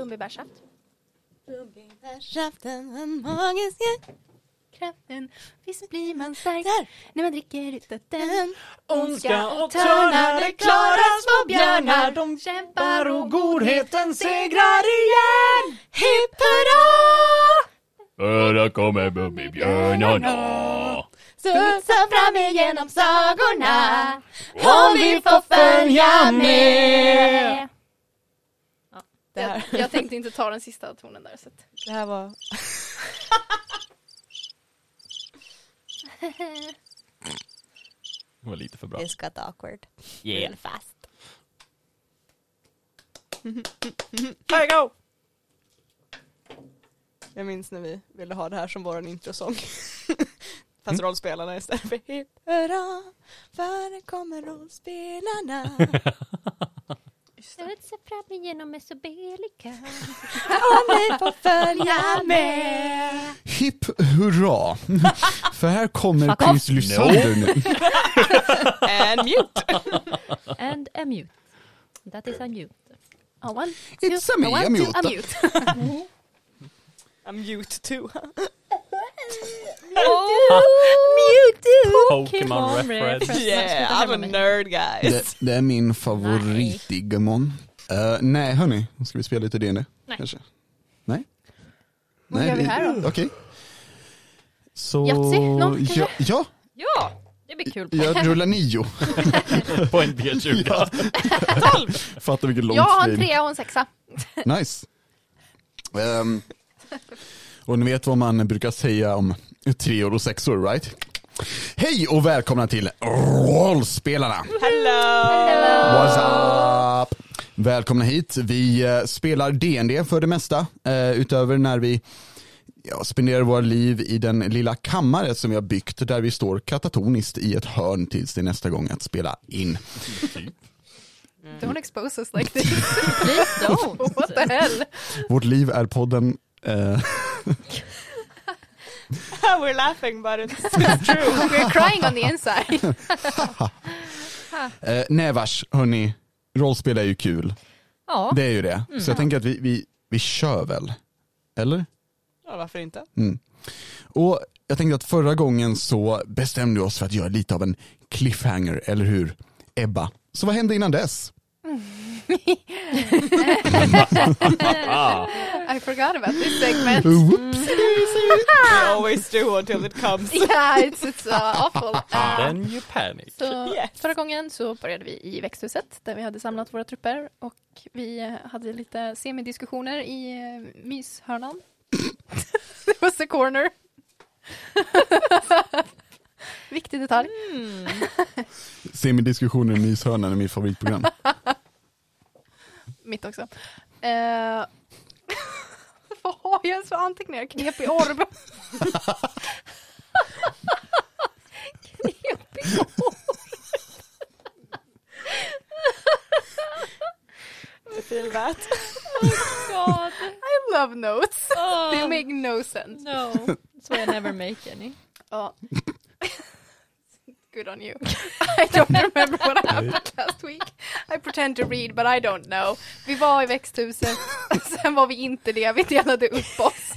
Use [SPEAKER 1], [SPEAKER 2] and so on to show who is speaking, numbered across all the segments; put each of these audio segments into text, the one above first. [SPEAKER 1] Bumbibärssaft.
[SPEAKER 2] Bumbibärsaften, den magiska
[SPEAKER 1] Kraften, visst blir man stark
[SPEAKER 2] Där.
[SPEAKER 1] när man dricker utan den.
[SPEAKER 2] den.
[SPEAKER 3] Ondska och törnar, det klarar små björnar. De
[SPEAKER 1] kämpar
[SPEAKER 3] kämpar och godheten segrar igen.
[SPEAKER 2] Hipp hurra!
[SPEAKER 3] Där kommer Bumbibjörnarna.
[SPEAKER 2] Studsa fram igenom sagorna om vi får
[SPEAKER 3] följa
[SPEAKER 2] med. Det
[SPEAKER 1] Jag,
[SPEAKER 2] här,
[SPEAKER 1] jag tänkte inte ta den sista tonen där. Så att.
[SPEAKER 2] det här var...
[SPEAKER 3] Det var lite för bra.
[SPEAKER 2] This got awkward.
[SPEAKER 3] Yeah.
[SPEAKER 2] Real fast.
[SPEAKER 3] There you go!
[SPEAKER 2] Jag minns när vi ville ha det här som vår introsång. Fast rollspelarna istället för hipp hurra, för det kommer rollspelarna.
[SPEAKER 4] Alltså.
[SPEAKER 1] Studsa fram igenom Mesobelica.
[SPEAKER 2] Om ni får följa med.
[SPEAKER 4] Hipp hurra! För här kommer prins Lysander nu.
[SPEAKER 2] And mute.
[SPEAKER 5] And a mute. That is a mute.
[SPEAKER 1] A one, two,
[SPEAKER 4] It's a me,
[SPEAKER 1] one,
[SPEAKER 4] I'm
[SPEAKER 1] two,
[SPEAKER 4] Jutta.
[SPEAKER 1] mute.
[SPEAKER 2] A mute too.
[SPEAKER 3] Pokémon reference.
[SPEAKER 2] Yeah, I'm a nerd guys.
[SPEAKER 4] Det, det är min favorit Digimon. Eh, nej hörni, ska vi spela lite D&D?
[SPEAKER 5] Nej.
[SPEAKER 4] Kanske? Nej?
[SPEAKER 1] Vad gör vi här då?
[SPEAKER 4] Okej. Så...
[SPEAKER 1] Yatzy, någon kanske?
[SPEAKER 4] ja, ja,
[SPEAKER 5] Ja, det blir kul.
[SPEAKER 4] jag rullar nio.
[SPEAKER 3] På en B20.
[SPEAKER 4] Ja. Fattar vilket långt
[SPEAKER 1] Jag har en
[SPEAKER 4] steg.
[SPEAKER 1] trea och en sexa.
[SPEAKER 4] Nice. Ehm, och ni vet vad man brukar säga om treor och sexor, right? Hej och välkomna till Rollspelarna!
[SPEAKER 2] Hello!
[SPEAKER 4] What's up? Välkomna hit. Vi eh, spelar D&D för det mesta, eh, utöver när vi ja, spenderar våra liv i den lilla kammare som vi har byggt där vi står katatoniskt i ett hörn tills det är nästa gång att spela in.
[SPEAKER 1] Don't expose us like this.
[SPEAKER 5] Please
[SPEAKER 1] What
[SPEAKER 5] don't.
[SPEAKER 1] the hell?
[SPEAKER 4] Vårt liv är podden eh,
[SPEAKER 2] We're laughing but it's, it's true.
[SPEAKER 1] We're crying on the inside.
[SPEAKER 4] Eh, nej vars, hörni, rollspel är ju kul.
[SPEAKER 5] Ja,
[SPEAKER 4] Det är ju det. Så jag tänker att vi, vi, vi kör väl. Eller?
[SPEAKER 2] Ja, varför inte?
[SPEAKER 4] Och jag tänkte att förra gången så bestämde vi oss för att göra lite av en cliffhanger, eller hur? Ebba. Så vad hände innan dess?
[SPEAKER 1] I forgot about this segment.
[SPEAKER 4] Whoops.
[SPEAKER 2] I always do until it comes.
[SPEAKER 1] Yeah, it's, it's uh, awful. Uh,
[SPEAKER 3] Ah, Then you panic.
[SPEAKER 1] Så
[SPEAKER 2] Yes.
[SPEAKER 1] förra gången så började vi i växthuset där vi hade samlat våra trupper och vi eh, hade lite semidiskussioner i eh, myshörnan. It was the corner. Viktig detalj.
[SPEAKER 4] Se min diskussion i myshörnan i mitt favoritprogram.
[SPEAKER 1] Mitt också. Eh, vad har jag ens för anteckningar? Knepig orb. Knepig orb.
[SPEAKER 2] I feel that.
[SPEAKER 5] Oh God.
[SPEAKER 1] I love notes. They
[SPEAKER 5] Oh,
[SPEAKER 1] make no sense.
[SPEAKER 5] no. So I never make any.
[SPEAKER 1] Ja. Good on you. I don't remember what happened last week. I pretend to read but I don't know. Vi var i växthuset, sen var vi inte det, vi delade upp oss.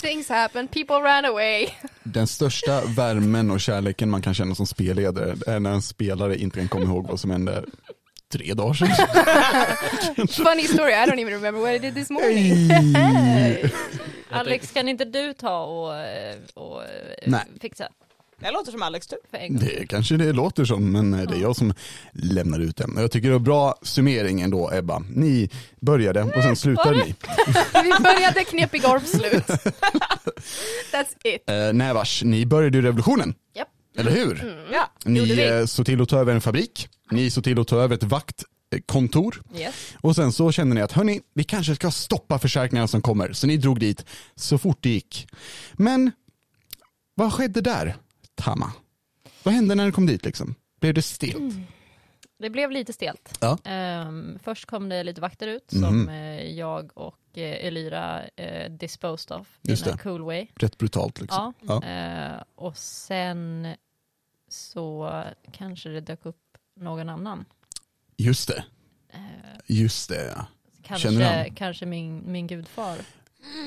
[SPEAKER 1] Things happened, people ran away.
[SPEAKER 4] Den största värmen och kärleken man kan känna som spelledare är när en spelare inte kan komma ihåg vad som hände tre dagar sedan.
[SPEAKER 1] Funny story, I don't even remember what I did this morning.
[SPEAKER 4] Hej.
[SPEAKER 5] Alex, kan inte du ta och, eh, och eh,
[SPEAKER 4] Nej.
[SPEAKER 5] fixa
[SPEAKER 2] Det låter som Alex typ. tur.
[SPEAKER 5] för en gång?
[SPEAKER 4] Det kanske det låter som, men det är jag som lämnar ut den. Och Jag tycker det var bra summering ändå Ebba. Ni började och sen slutade ni.
[SPEAKER 1] Vi började knepig orm slut. That's it.
[SPEAKER 4] Eh, nej vars, ni började ju revolutionen.
[SPEAKER 1] Japp.
[SPEAKER 4] Eller hur?
[SPEAKER 2] Ja.
[SPEAKER 4] Ni eh, såg till att ta över en fabrik, ni såg till att ta över ett vaktkontor
[SPEAKER 5] Yes.
[SPEAKER 4] och sen så kände ni att hörni, vi kanske ska stoppa försäkringarna som kommer. Så ni drog dit så fort det gick. Men vad skedde där, Tama? Vad hände när ni kom dit liksom? Blev det stelt?
[SPEAKER 5] Det blev lite stelt.
[SPEAKER 4] Ja. Mhm.
[SPEAKER 5] Ehm, först kom det lite vakter ut som eh, jag och eh, Elyra eh, disposed of
[SPEAKER 4] Just
[SPEAKER 5] in a
[SPEAKER 4] det.
[SPEAKER 5] cool way.
[SPEAKER 4] Rätt brutalt liksom.
[SPEAKER 5] Ja. Eh, och sen så kanske det dök upp någon annan.
[SPEAKER 4] Just det,
[SPEAKER 5] Eh,
[SPEAKER 4] just det. Känner du
[SPEAKER 5] Kanske,
[SPEAKER 4] han?
[SPEAKER 5] kanske min, min gudfar.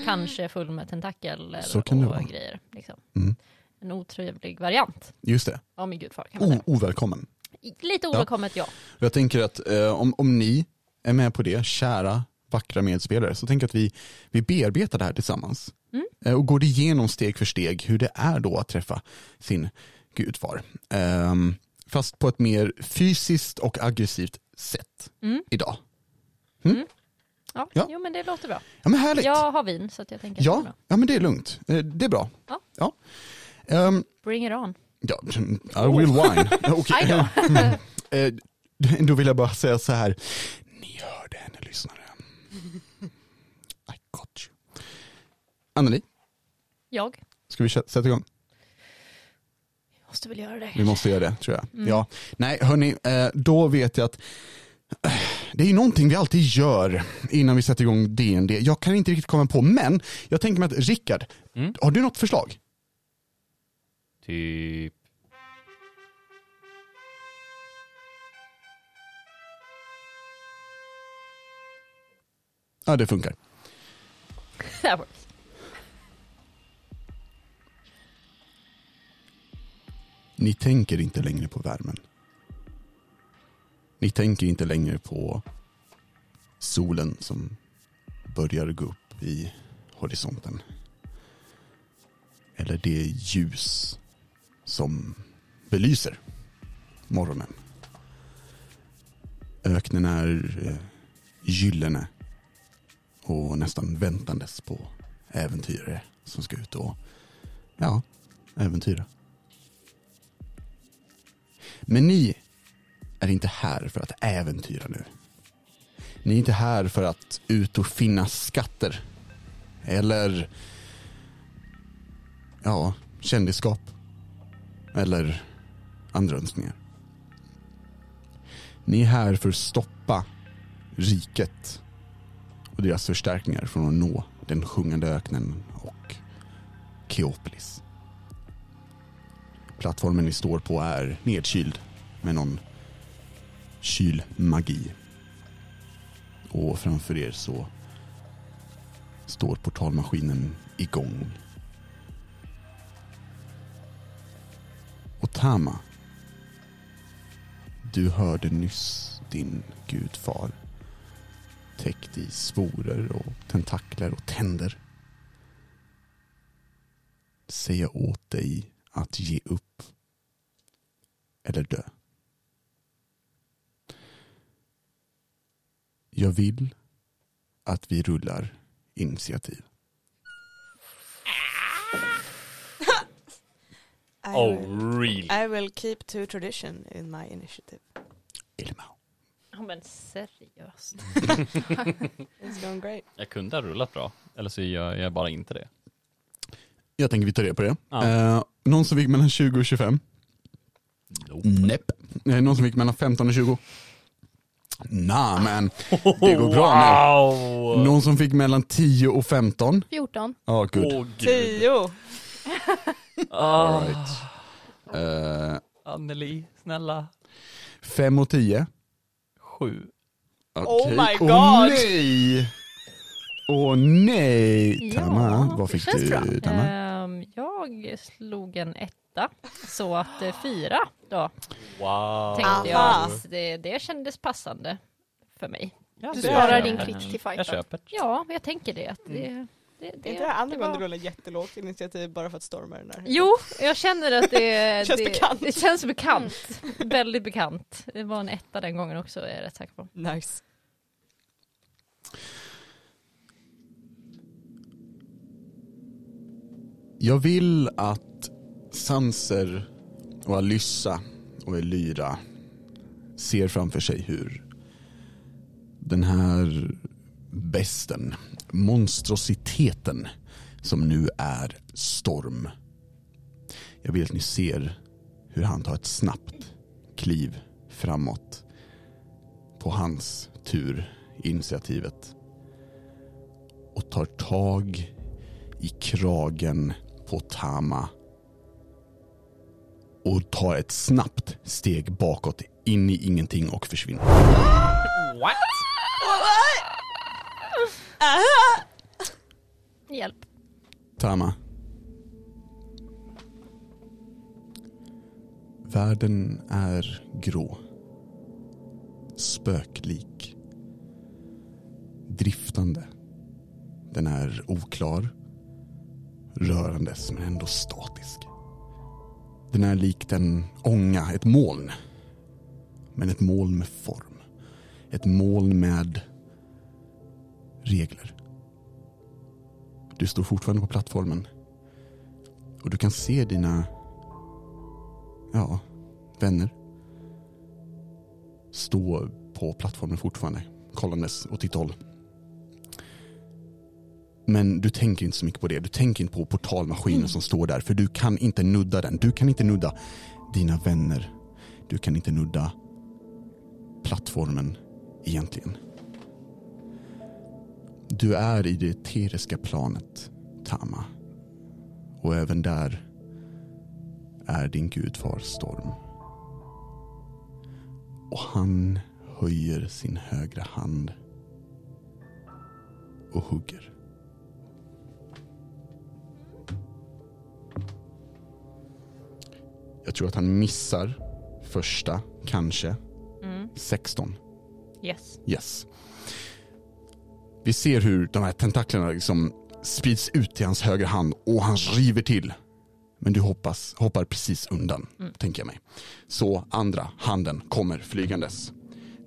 [SPEAKER 5] Kanske full med tentakel
[SPEAKER 4] Så kan det
[SPEAKER 5] och
[SPEAKER 4] vara.
[SPEAKER 5] grejer. Liksom.
[SPEAKER 4] Mm.
[SPEAKER 5] En otrevlig variant
[SPEAKER 4] Just det,
[SPEAKER 5] av min gudfar. Kan man
[SPEAKER 4] o- ovälkommen.
[SPEAKER 5] säga. Lite ovälkommet ja.
[SPEAKER 4] Jag tänker att eh, om, om ni är med på det, kära vackra medspelare, så tänker jag att vi, vi bearbetar det här tillsammans.
[SPEAKER 5] Mm.
[SPEAKER 4] Eh, och går igenom steg för steg hur det är då att träffa sin gudfar. Ehm, fast på ett mer fysiskt och aggressivt sätt
[SPEAKER 5] Mm.
[SPEAKER 4] idag.
[SPEAKER 5] Ja.
[SPEAKER 4] Ja.
[SPEAKER 5] Jo men det låter bra.
[SPEAKER 4] Ja men härligt.
[SPEAKER 5] Jag har vin så att jag tänker att det är
[SPEAKER 4] ja,
[SPEAKER 5] bra.
[SPEAKER 4] ja, men det är lugnt. Eh, det är bra.
[SPEAKER 5] Ja.
[SPEAKER 4] Ehm,
[SPEAKER 5] Bring it on.
[SPEAKER 4] Ja, I will wine. Okej.
[SPEAKER 5] I know.
[SPEAKER 4] Eh, Då vill jag bara säga så här. Ni hörde henne lyssnare. I got you. Anneli,
[SPEAKER 5] Jag
[SPEAKER 4] ska vi kö- sätta igång?
[SPEAKER 5] måste väl göra det.
[SPEAKER 4] Vi måste göra det tror jag.
[SPEAKER 5] Mm.
[SPEAKER 4] Ja. Nej, hörni, eh, då vet jag att eh, det är ju någonting vi alltid gör innan vi sätter igång DND. Jag kan inte riktigt komma på, men jag tänker mig att Rickard,
[SPEAKER 6] Mm.
[SPEAKER 4] har du något förslag?
[SPEAKER 6] Typ.
[SPEAKER 4] Ja, det funkar.
[SPEAKER 5] That works.
[SPEAKER 4] Ni tänker inte längre på värmen. Ni tänker inte längre på solen som börjar gå upp i horisonten. Eller det ljus som belyser morgonen. Öknen är eh, gyllene och nästan väntandes på äventyrare som ska ut och ja, äventyra. Men ni är inte här för att äventyra nu. Ni är inte här för att ut och finna skatter. Eller... Ja, kändisskap. Eller andra önskningar. Ni är här för att stoppa riket och deras förstärkningar från att nå den sjungande öknen och Keopolis. Plattformen ni står på är nedkyld med någon kylmagi. Och framför er så står portalmaskinen igång. Och Tama, du hörde nyss din gudfar täckt i sporer och tentakler och tänder säga åt dig att ge upp eller dö. Jag vill att vi rullar initiativ.
[SPEAKER 2] I, will,
[SPEAKER 6] Oh really?
[SPEAKER 2] I will keep to tradition in my initiative.
[SPEAKER 4] Ilma.
[SPEAKER 5] Ja men seriöst.
[SPEAKER 4] Mm.
[SPEAKER 2] It's going great.
[SPEAKER 6] Jag kunde ha rullat bra. Eller så gör jag bara inte det.
[SPEAKER 4] Jag tänker vi tar reda på det.
[SPEAKER 6] Ja.
[SPEAKER 4] Eh, någon som fick mellan 20 och 25?
[SPEAKER 6] Nope.
[SPEAKER 4] Näpp. Eh, någon som fick mellan 15 och 20? Nah men, det går bra nu.
[SPEAKER 6] Wow!
[SPEAKER 4] Någon som fick mellan 10 och 15?
[SPEAKER 1] 14.
[SPEAKER 4] Ja, good.
[SPEAKER 6] Åh gud.
[SPEAKER 2] Tio!
[SPEAKER 6] Ah,
[SPEAKER 4] All right. Eh,
[SPEAKER 6] Anneli, snälla.
[SPEAKER 4] 5 och 10?
[SPEAKER 6] Sju.
[SPEAKER 2] Oh
[SPEAKER 4] Okej.
[SPEAKER 2] my
[SPEAKER 4] Åh
[SPEAKER 2] God.
[SPEAKER 4] nej! Åh nej!
[SPEAKER 5] Ja,
[SPEAKER 4] Tama, vad
[SPEAKER 5] det
[SPEAKER 4] fick
[SPEAKER 5] känns
[SPEAKER 4] du
[SPEAKER 5] bra.
[SPEAKER 4] Tama?
[SPEAKER 5] Ehm, jag slog en etta, så att eh, fyra då
[SPEAKER 6] Wow.
[SPEAKER 5] tänkte jag.
[SPEAKER 2] Aha.
[SPEAKER 5] att Det, det kändes passande för mig.
[SPEAKER 6] jag.
[SPEAKER 1] Du
[SPEAKER 2] det
[SPEAKER 1] sparar
[SPEAKER 2] gör
[SPEAKER 1] din
[SPEAKER 2] jag.
[SPEAKER 1] klick till
[SPEAKER 6] Jag
[SPEAKER 1] fighten.
[SPEAKER 6] köper.
[SPEAKER 5] Ja, jag tänker det. Att det, det,
[SPEAKER 2] Är
[SPEAKER 5] Mm. det,
[SPEAKER 2] inte det här andra
[SPEAKER 5] det var-
[SPEAKER 2] gången du rullar jättelågt initiativ bara för att storma den där?
[SPEAKER 5] Jo, jag känner att det,
[SPEAKER 2] Känns
[SPEAKER 5] det,
[SPEAKER 2] bekant.
[SPEAKER 5] det känns Mm. bekant. Väldigt bekant. Det var en etta den gången också, är jag rätt säker på.
[SPEAKER 2] Nice.
[SPEAKER 4] Jag vill att Sanser och Alyssa och Elyra ser framför sig hur den här besten, monstrositeten som nu är Storm. Jag vill att ni ser hur han tar ett snabbt kliv framåt på hans tur i initiativet och tar tag i kragen på Tama och tar ett snabbt steg bakåt in i ingenting och försvinner.
[SPEAKER 6] What?
[SPEAKER 5] Hjälp.
[SPEAKER 4] Tama. Världen är grå. Spöklik. Driftande. Den är oklar. Rörandes men ändå statisk. Den är lik en ånga, ett moln. Men ett moln med form. Ett moln med regler. Du står fortfarande på plattformen. Och du kan se dina, ja, vänner. Stå på plattformen fortfarande, kollandes åt ditt håll. Men du tänker inte så mycket på det. Du tänker inte på portalmaskinen som står där, för du kan inte nudda den. Du kan inte nudda dina vänner. Du kan inte nudda plattformen egentligen. Du är i det eteriska planet, Tama. Och även där är din gudfar Storm. Och han höjer sin högra hand och hugger. Jag tror att han missar första, kanske,
[SPEAKER 5] Mm.
[SPEAKER 4] 16.
[SPEAKER 5] Yes.
[SPEAKER 4] Yes. Vi ser hur de här tentaklerna liksom sprids ut till hans högra hand och han river till. Men du hoppas, hoppar precis undan, tänker jag mig. Så andra handen kommer flygandes.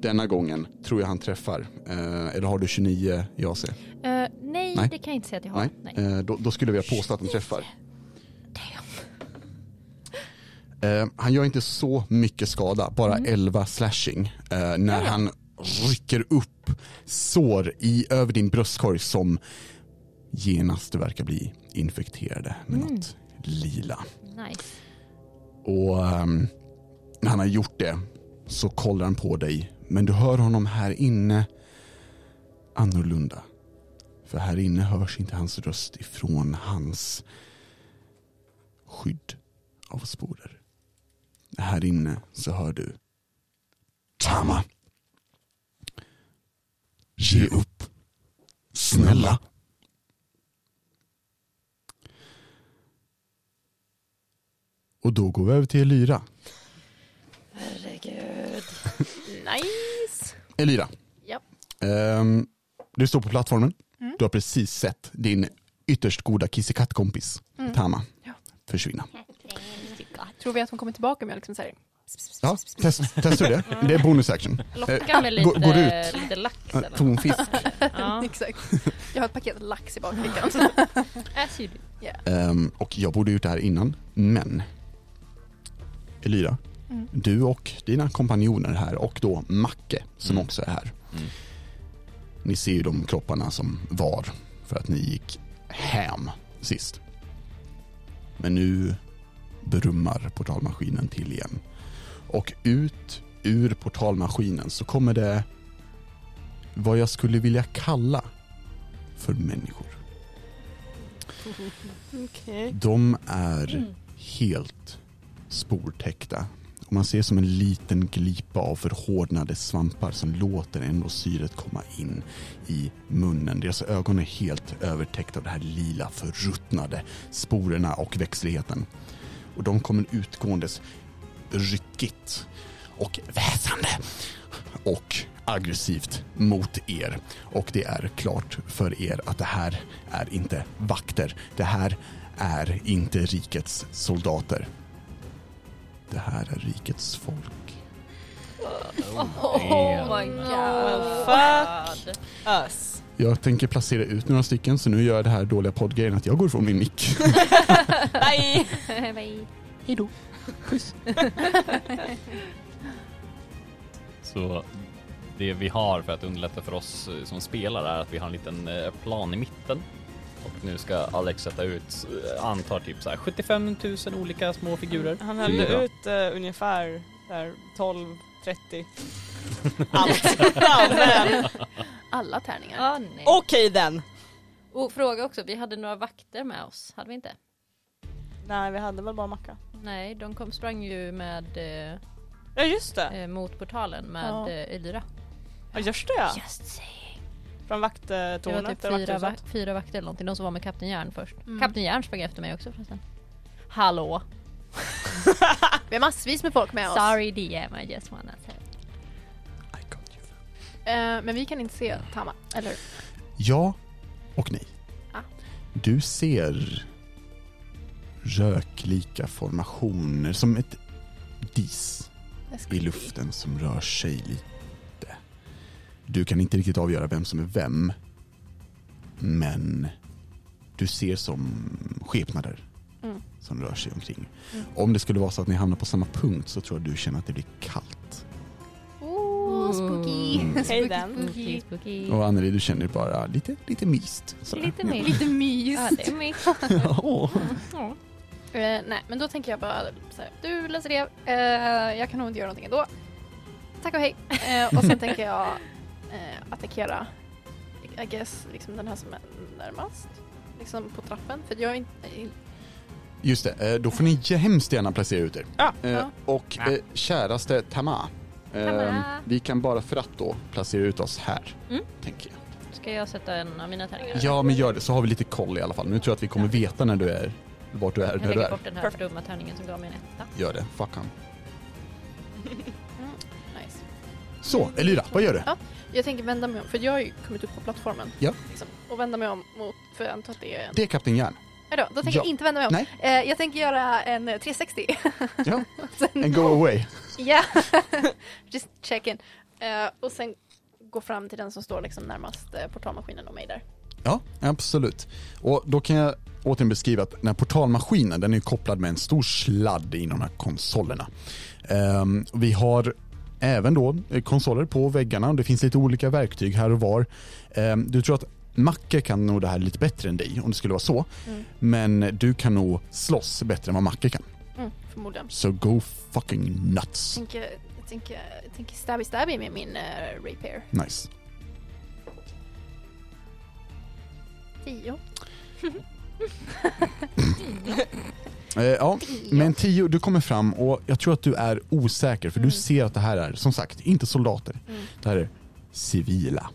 [SPEAKER 4] Denna gången tror jag han träffar. Eh, eller har du 29 i AC?
[SPEAKER 5] Eh, nej,
[SPEAKER 4] Nej.
[SPEAKER 5] det kan jag inte säga att jag har. Nej.
[SPEAKER 4] Eh, då, då skulle vi ha påstått att han träffar. Eh, han gör inte så mycket skada, bara 11 slashing. Eh, när han rycker upp sår i, över din bröstkorg som genast verkar bli infekterade med något lila.
[SPEAKER 5] Nice.
[SPEAKER 4] Och ehm, när han har gjort det så kollar han på dig. Men du hör honom här inne annorlunda. För här inne hörs inte hans röst ifrån hans skydd av sporer. Här inne så hör du Tama. Ge upp. Snälla. Och då går vi över till Elira.
[SPEAKER 5] Herregud. nice.
[SPEAKER 4] Elira.
[SPEAKER 5] Japp.
[SPEAKER 4] Ehm, du står på plattformen. Du har precis sett din ytterst goda kissekattkompis
[SPEAKER 1] Mm.
[SPEAKER 4] Tama försvinna.
[SPEAKER 1] Tror vi att hon kommer tillbaka med liksom så här.
[SPEAKER 4] Ja, test, testar du det? Det är bonus action.
[SPEAKER 5] Locka med lite,
[SPEAKER 4] Eh, Går- går ut.
[SPEAKER 5] lite lax
[SPEAKER 4] Eh,
[SPEAKER 5] eller något.
[SPEAKER 4] Tonfisk.
[SPEAKER 5] ja.
[SPEAKER 1] Exakt. Jag har ett paket lax i bakfickan.
[SPEAKER 5] As you do.
[SPEAKER 4] Ehm, och jag borde gjort det här innan, men Elira,
[SPEAKER 1] Mm.
[SPEAKER 4] du och dina kompanjoner här och då Macke som
[SPEAKER 6] Mm.
[SPEAKER 4] också är här.
[SPEAKER 6] Mm.
[SPEAKER 4] Ni ser ju de kropparna som var för att ni gick hem sist. Men nu brummar portalmaskinen till igen. Och ut ur portalmaskinen så kommer det vad jag skulle vilja kalla för människor.
[SPEAKER 2] Okej.
[SPEAKER 4] De är helt sportäckta. Och man ser som en liten glipa av förhårdnade svampar som låter ändå syret komma in i munnen. Deras ögon är helt övertäckta av det här lila förruttnade sporerna och växtligheten. Och de kommer utgåendes ryckigt och väsande och aggressivt mot er. Och det är klart för er att det här är inte vakter. Det här är inte rikets soldater. Det här är rikets folk.
[SPEAKER 5] Oh my god.
[SPEAKER 2] Well, Us.
[SPEAKER 4] Jag tänker placera ut några stycken, så nu gör jag det här dåliga poddgrejen att jag går ifrån min mick.
[SPEAKER 2] Nej!
[SPEAKER 5] Bye.
[SPEAKER 6] Så det vi har för att underlätta för oss eh, som spelar är att vi har en liten eh, plan i mitten. Och nu ska Alex sätta ut, eh, antar typ så här 75 000 olika små figurer.
[SPEAKER 2] Han
[SPEAKER 6] Det är bra.
[SPEAKER 2] hällde ut eh, ungefär där 12, 30. Allt. Ja, men.
[SPEAKER 1] Alla tärningar.
[SPEAKER 5] Ah, nej. Och,
[SPEAKER 2] Okej den!
[SPEAKER 5] fråga också, vi hade några vakter med oss, hade vi inte?
[SPEAKER 2] Nej vi hade väl bara macka.
[SPEAKER 5] Nej, de kom, sprang ju med eh,
[SPEAKER 2] Ja just det.
[SPEAKER 5] eh, mot portalen med
[SPEAKER 1] Ja.
[SPEAKER 5] eh, Elira.
[SPEAKER 2] Ja, görs det?
[SPEAKER 5] Just saying.
[SPEAKER 2] Från
[SPEAKER 5] Det var
[SPEAKER 2] vakttornet.
[SPEAKER 5] typ
[SPEAKER 2] eller
[SPEAKER 5] fyra, va-
[SPEAKER 2] vakthuset.
[SPEAKER 5] fyra vakter eller någonting. De som var med Kapten Järn först.
[SPEAKER 1] Mm.
[SPEAKER 5] Kapten Järn sprang efter mig också förresten. Hallå!
[SPEAKER 1] Vi har massvis med folk med oss.
[SPEAKER 5] Sorry DM, I just wanna say.
[SPEAKER 1] Eh, men vi kan inte se Tama, eller
[SPEAKER 4] Ja och nej.
[SPEAKER 1] Ah.
[SPEAKER 4] Du ser röklika formationer som ett dis i luften som rör sig lite. Du kan inte riktigt avgöra vem som är vem. Men du ser som skepnader
[SPEAKER 1] Mm.
[SPEAKER 4] som rör sig omkring.
[SPEAKER 1] Mm.
[SPEAKER 4] Om det skulle vara så att ni hamnar på samma punkt så tror jag du känner att det blir kallt.
[SPEAKER 1] Åh, spooky.
[SPEAKER 4] Mm.
[SPEAKER 1] spooky.
[SPEAKER 2] Hej den.
[SPEAKER 1] spooky.
[SPEAKER 5] Spooky, spooky.
[SPEAKER 4] Och Anneli, du känner bara lite, lite mist. Sådär.
[SPEAKER 5] Mm. Lite mer.
[SPEAKER 1] Lite mys.
[SPEAKER 5] Ja, det är mitt.
[SPEAKER 4] Åh.
[SPEAKER 5] Ja.
[SPEAKER 1] Eh, nej, men då tänker jag bara så här, du läser det, eh, jag kan nog inte göra någonting ändå. Tack och hej. Eh, och sen tänker jag eh, attackera, I guess, liksom den här som är närmast. Liksom på trappen, för jag är inte...
[SPEAKER 4] Just det, eh, då får ni ge- hemskt gärna placera ut er.
[SPEAKER 2] Ja.
[SPEAKER 4] Eh,
[SPEAKER 1] Ja.
[SPEAKER 4] Och eh, käraste Tama, eh,
[SPEAKER 5] Tama.
[SPEAKER 4] vi kan bara för att då placera ut oss här,
[SPEAKER 5] Mm.
[SPEAKER 4] tänker jag.
[SPEAKER 5] Ska jag sätta en av mina tärningar?
[SPEAKER 4] Ja, men gör det så har vi lite koll i alla fall. Nu tror jag att vi kommer veta när du är, vart du är,
[SPEAKER 5] Jag
[SPEAKER 4] när du
[SPEAKER 5] lägger
[SPEAKER 4] är.
[SPEAKER 5] bort den här
[SPEAKER 2] Perfect.
[SPEAKER 5] dumma tärningen som gav mig en etta.
[SPEAKER 4] Gör det, fuck han.
[SPEAKER 1] Nice.
[SPEAKER 4] Så, Elira, vad gör du?
[SPEAKER 1] Ja. Jag tänker vända mig om, för jag har ju kommit upp på plattformen.
[SPEAKER 4] Ja.
[SPEAKER 1] Liksom, och vända mig om mot, för jag antar att det är en...
[SPEAKER 4] Det är Kapten Järn.
[SPEAKER 1] Nej då, då tänker
[SPEAKER 4] Ja.
[SPEAKER 1] jag inte vända mig om.
[SPEAKER 4] Nej.
[SPEAKER 1] Eh, jag tänker göra en eh, 360.
[SPEAKER 4] Ja.
[SPEAKER 1] Sen-
[SPEAKER 4] En go away.
[SPEAKER 1] Ja, just checking. Eh, och sen gå fram till den som står liksom närmast eh, portalmaskinen och mig där.
[SPEAKER 4] Ja, absolut. Och då kan jag återigen beskriva att den här portalmaskinen den är ju kopplad med en stor sladd inom de här konsolerna. Ehm, och vi har även då eh, konsoler på väggarna och det finns lite olika verktyg här och var. Ehm, du tror att Macke kan nog det här lite bättre än dig om det skulle vara så.
[SPEAKER 1] Mm.
[SPEAKER 4] Men du kan nog slåss bättre än vad Macke kan.
[SPEAKER 1] Mm, förmodligen.
[SPEAKER 4] So go fucking nuts.
[SPEAKER 1] Jag tänker, jag tänker, jag tänker stabby stabby med min eh, repair.
[SPEAKER 4] Nice.
[SPEAKER 1] 10.
[SPEAKER 4] Eh, ja, men Tio, du kommer fram och jag tror att du är osäker för
[SPEAKER 1] Mm.
[SPEAKER 4] du ser att det här är, som sagt, inte soldater.
[SPEAKER 1] Mm.
[SPEAKER 4] Det här är civila.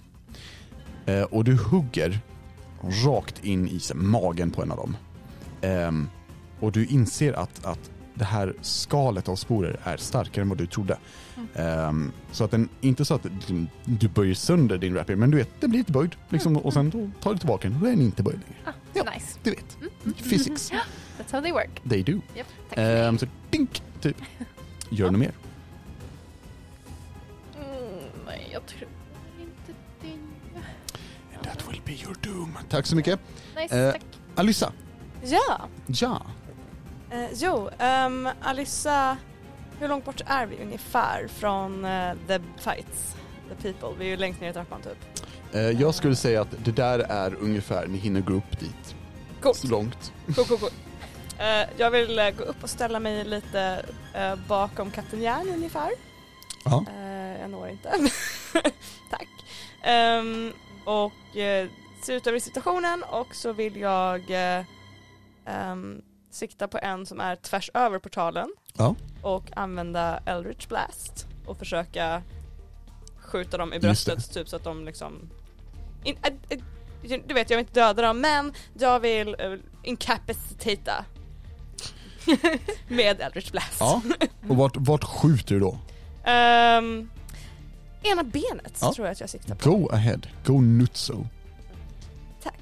[SPEAKER 4] Eh, och du hugger rakt in i sig, magen på en av dem. Ehm, och du inser att, att det här skalet av sporer är starkare än vad du trodde.
[SPEAKER 1] Mm.
[SPEAKER 4] Ehm, så att den, inte så att du, du böjer sönder din rapier, men du vet, den blir lite böjd.
[SPEAKER 1] Mm,
[SPEAKER 4] Liksom, och sen då tar du tillbaka den och då är den inte böjd längre.
[SPEAKER 1] Ah,
[SPEAKER 4] Ja.
[SPEAKER 1] Nice.
[SPEAKER 4] Du vet, physics,
[SPEAKER 1] That's how they work.
[SPEAKER 4] they do.
[SPEAKER 1] Japp, tack för
[SPEAKER 4] Ehm,
[SPEAKER 1] mig.
[SPEAKER 4] så dink, typ. Gör du mer?
[SPEAKER 1] Mm, nej, jag tror inte det.
[SPEAKER 4] That will be your doom. Tack så mycket.
[SPEAKER 1] Nice,
[SPEAKER 4] Eh.
[SPEAKER 1] tack.
[SPEAKER 4] Alyssa,
[SPEAKER 2] Ja.
[SPEAKER 4] ja.
[SPEAKER 2] Eh, jo, ehm, Alissa, hur långt bort är vi ungefär från eh, the fights? The people. Vi är ju längst ner i trappan typ.
[SPEAKER 4] Eh, jag skulle säga att det där är ungefär, ni hinner gå upp dit.
[SPEAKER 2] Coolt.
[SPEAKER 4] Så långt.
[SPEAKER 2] Cool, cool, cool. Eh, jag vill eh, gå upp och ställa mig lite eh, bakom Kapten Järn ungefär.
[SPEAKER 4] Ja.
[SPEAKER 2] Eh, jag når inte. Tack. Ehm, och eh, se ut över situationen och så vill jag eh, ehm, sikta på en som är tvärs över portalen.
[SPEAKER 4] Ja.
[SPEAKER 2] Och använda Eldritch Blast och försöka skjuta dem i
[SPEAKER 4] Just det.
[SPEAKER 2] bröstet typ så att de liksom... In, eh, eh, du vet jag vill inte döda dem men jag vill uh, incapacitata. Med Eldritch Blast.
[SPEAKER 4] Ja. Och vart, vart skjuter du då?
[SPEAKER 2] Ehm, ena benet
[SPEAKER 4] Ja.
[SPEAKER 2] tror jag att jag siktar på.
[SPEAKER 4] Go ahead. Go nutso.
[SPEAKER 2] Tack.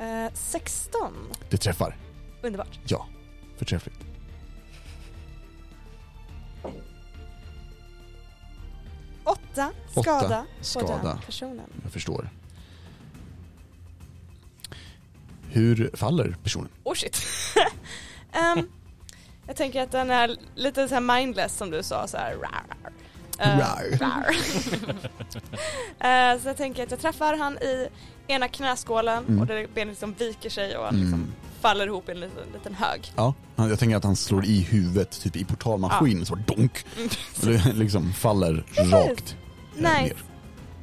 [SPEAKER 2] Eh, 16.
[SPEAKER 4] Det träffar.
[SPEAKER 2] Underbart.
[SPEAKER 4] Ja. Förträffligt.
[SPEAKER 2] Åtta
[SPEAKER 4] Åtta
[SPEAKER 2] skada på
[SPEAKER 4] skada.
[SPEAKER 2] den personen.
[SPEAKER 4] Jag förstår. Hur faller personen?
[SPEAKER 2] Oh shit. Ehm, jag tänker att den är lite så här mindless som du sa så här. Rar, rar. Eh,
[SPEAKER 4] Rar.
[SPEAKER 2] rar. Eh, så jag tänker att jag träffar han i ena knäskålen
[SPEAKER 4] Mm.
[SPEAKER 2] och det benet liksom viker sig och han liksom
[SPEAKER 4] Mm.
[SPEAKER 2] faller ihop i en liten, liten hög.
[SPEAKER 4] Ja, han- jag tänker att han slår i huvudet typ i portalmaskinen så donk. Eller liksom faller
[SPEAKER 2] Precis.
[SPEAKER 4] rakt eh,
[SPEAKER 2] Nice.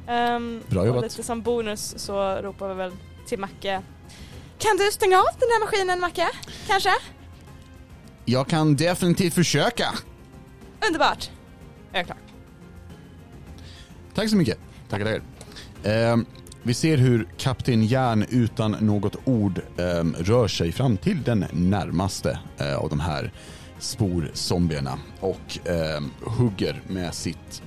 [SPEAKER 4] ner.
[SPEAKER 2] Ehm,
[SPEAKER 4] Bra
[SPEAKER 2] och
[SPEAKER 4] jobbat.
[SPEAKER 2] lite som bonus så ropar vi väl till Macke. Kan du stänga av den här maskinen Macke? Kanske?
[SPEAKER 4] Jag kan definitivt försöka.
[SPEAKER 2] Underbart. Jag är klar.
[SPEAKER 4] Tack så mycket. Tackar, tackar. Ehm, vi ser hur Kapten Järn utan något ord ehm, rör sig fram till den närmaste eh, av de här sporzombierna och ehm, hugger med sitt...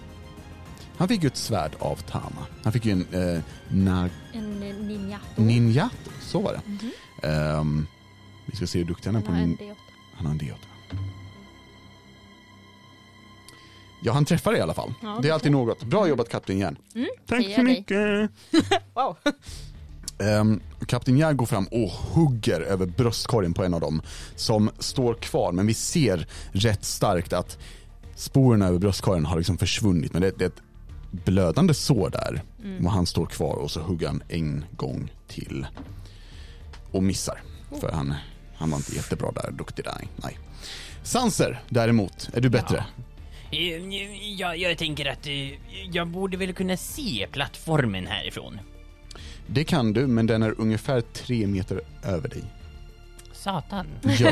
[SPEAKER 4] Han fick ju ett svärd av Tama. Han fick ju en eh, nag...
[SPEAKER 7] En eh, ninja.
[SPEAKER 4] Ninja, så var det.
[SPEAKER 7] Mhm.
[SPEAKER 4] Ehm, vi ska se hur duktig han är
[SPEAKER 7] Han
[SPEAKER 4] på
[SPEAKER 7] har en
[SPEAKER 4] nin-
[SPEAKER 7] D8.
[SPEAKER 4] Han har en D8. Ja, han träffar i alla fall.
[SPEAKER 7] Ja,
[SPEAKER 4] det är alltid något. Bra jobbat Kapten Järn.
[SPEAKER 7] Mm,
[SPEAKER 4] Tack
[SPEAKER 7] säger
[SPEAKER 4] så
[SPEAKER 7] jag dig.
[SPEAKER 4] mycket.
[SPEAKER 2] Wow.
[SPEAKER 4] Ehm, Kapten Järn går fram och hugger över bröstkorgen på en av dem som står kvar, men vi ser rätt starkt att sporerna över bröstkorgen har liksom försvunnit, men det, det är ett blödande sår där. Och han står kvar och så hugger han en gång till. Och missar. För han, han var inte jättebra där, duktig där. Nej. Sanser däremot, är du bättre?
[SPEAKER 8] Jag, jag tänker att eh, jag borde väl kunna se plattformen härifrån.
[SPEAKER 4] Det kan du, men den är ungefär tre meter över dig.
[SPEAKER 8] Satan.
[SPEAKER 4] Ja.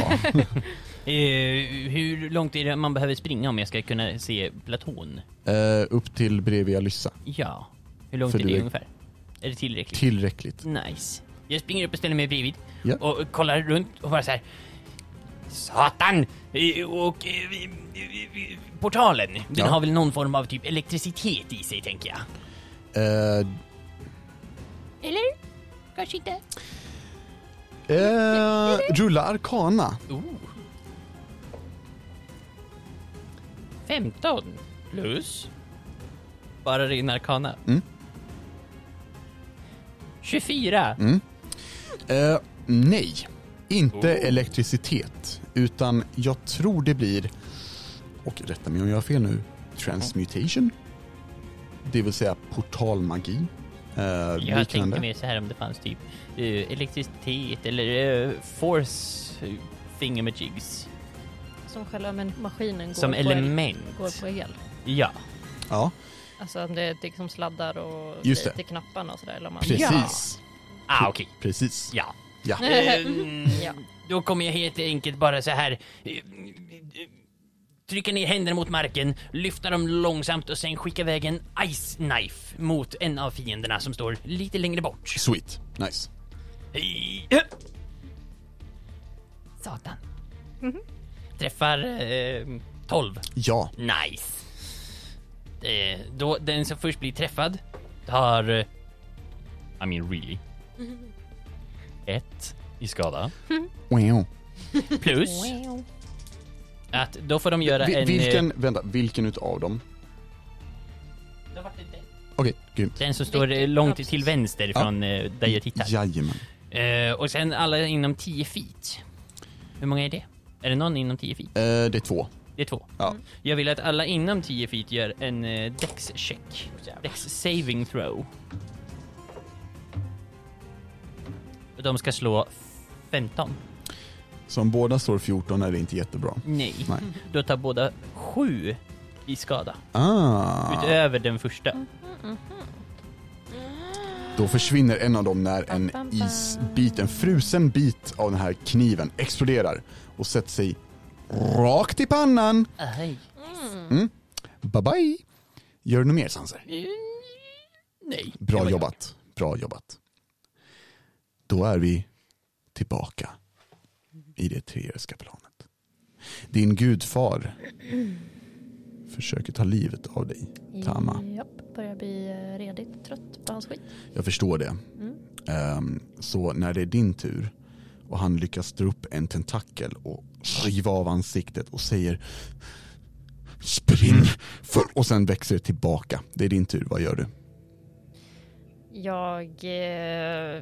[SPEAKER 8] Eh, hur långt är det man behöver springa om jag ska kunna se platån?
[SPEAKER 4] Eh, upp till bredvid Alyssa.
[SPEAKER 8] Ja. Hur långt
[SPEAKER 4] För
[SPEAKER 8] är
[SPEAKER 4] du
[SPEAKER 8] det
[SPEAKER 4] är-
[SPEAKER 8] ungefär? Är det tillräckligt?
[SPEAKER 4] Tillräckligt.
[SPEAKER 8] Nice. Jag springer upp och ställer mig bredvid.
[SPEAKER 4] Ja.
[SPEAKER 8] Och kollar runt och bara så här. Satan! Eh, Och eh, vi- vi- vi- portalen, den
[SPEAKER 4] Ja.
[SPEAKER 8] har väl någon form av typ elektricitet i sig tänker jag.
[SPEAKER 4] Eh,
[SPEAKER 7] Eller? Kanske inte.
[SPEAKER 4] eh, rulla Arkana.
[SPEAKER 8] Oh. 15 plus. Bara ren arkana.
[SPEAKER 4] Mm. Mm,
[SPEAKER 8] 24.
[SPEAKER 4] Eh, nej, inte
[SPEAKER 8] Oh.
[SPEAKER 4] elektricitet. Utan jag tror det blir, och rätta mig om jag har fel nu, transmutation. Det vill säga portalmagi. Eh,
[SPEAKER 8] Jag
[SPEAKER 4] liknande.
[SPEAKER 8] tänkte mer så här om det fanns typ eh, elektricitet eller eh, force eh, thingamajigs
[SPEAKER 5] Som själva men- maskinen går,
[SPEAKER 8] som
[SPEAKER 5] på,
[SPEAKER 8] element.
[SPEAKER 5] El, går på el.
[SPEAKER 8] Ja.
[SPEAKER 4] Ja,
[SPEAKER 5] Alltså om det är liksom sladdar och
[SPEAKER 4] Just
[SPEAKER 5] grejer
[SPEAKER 4] det.
[SPEAKER 5] till knapparna och sådär. Eller om man...
[SPEAKER 4] precis.
[SPEAKER 8] Ah, okej.
[SPEAKER 4] Precis.
[SPEAKER 8] Ja.
[SPEAKER 4] Ja.
[SPEAKER 8] Ehm,
[SPEAKER 5] Ja.
[SPEAKER 8] Då kommer jag helt enkelt bara så här eh, trycka ner händerna mot marken, lyfta dem långsamt och sen skicka iväg en ice knife mot en av fienderna som står lite längre bort.
[SPEAKER 4] Sweet. Nice.
[SPEAKER 8] Eh, Satan. Mm-hmm. Träffar eh, 12.
[SPEAKER 4] Ja,
[SPEAKER 8] Nice. Eh, då den som först blir träffad tar... eh, I mean really. Ett i skada.
[SPEAKER 4] Wow.
[SPEAKER 8] Plus att då får de göra
[SPEAKER 4] Vi-
[SPEAKER 8] en... eh,
[SPEAKER 4] Vilken, vänta, vilken utav dem? Okej, grymt.
[SPEAKER 8] Den som står eh, långt till vänster från eh, där jag tittar.
[SPEAKER 4] Jajamän.
[SPEAKER 8] Eh, och sen alla inom 10 feet. Hur många är det? Är det någon inom 10 feet?
[SPEAKER 4] Eh, det är två.
[SPEAKER 8] Det är två.
[SPEAKER 4] Ja.
[SPEAKER 8] Jag vill att alla inom 10 feet gör en eh, dex-check. Dex saving throw. Och De ska slå 15.
[SPEAKER 4] Så om båda står 14 är det inte jättebra.
[SPEAKER 8] Nej.
[SPEAKER 4] Nej.
[SPEAKER 8] Då tar båda 7 i skada.
[SPEAKER 4] Ah.
[SPEAKER 8] Utöver den första.
[SPEAKER 4] Då försvinner en av dem när en isbit, en frusen bit av den här kniven exploderar och sätter sig rakt i pannan.
[SPEAKER 8] Aj.
[SPEAKER 4] Bye bye! Gör du något mer Sanser?
[SPEAKER 8] Nej.
[SPEAKER 4] Bra
[SPEAKER 8] Det var jag.
[SPEAKER 4] jobbat, bra jobbat. Då är vi tillbaka i det treeriska planet. Din gudfar försöker ta livet av dig. Tama.
[SPEAKER 5] Japp, börjar bli eh, redigt trött på hans skit.
[SPEAKER 4] Jag förstår det. Ehm, så när det är din tur och han lyckas dra upp en tentakel och riva av ansiktet och säger Spring! För... Och sen växer det tillbaka. Det är din tur, vad gör du?
[SPEAKER 5] Jag eh,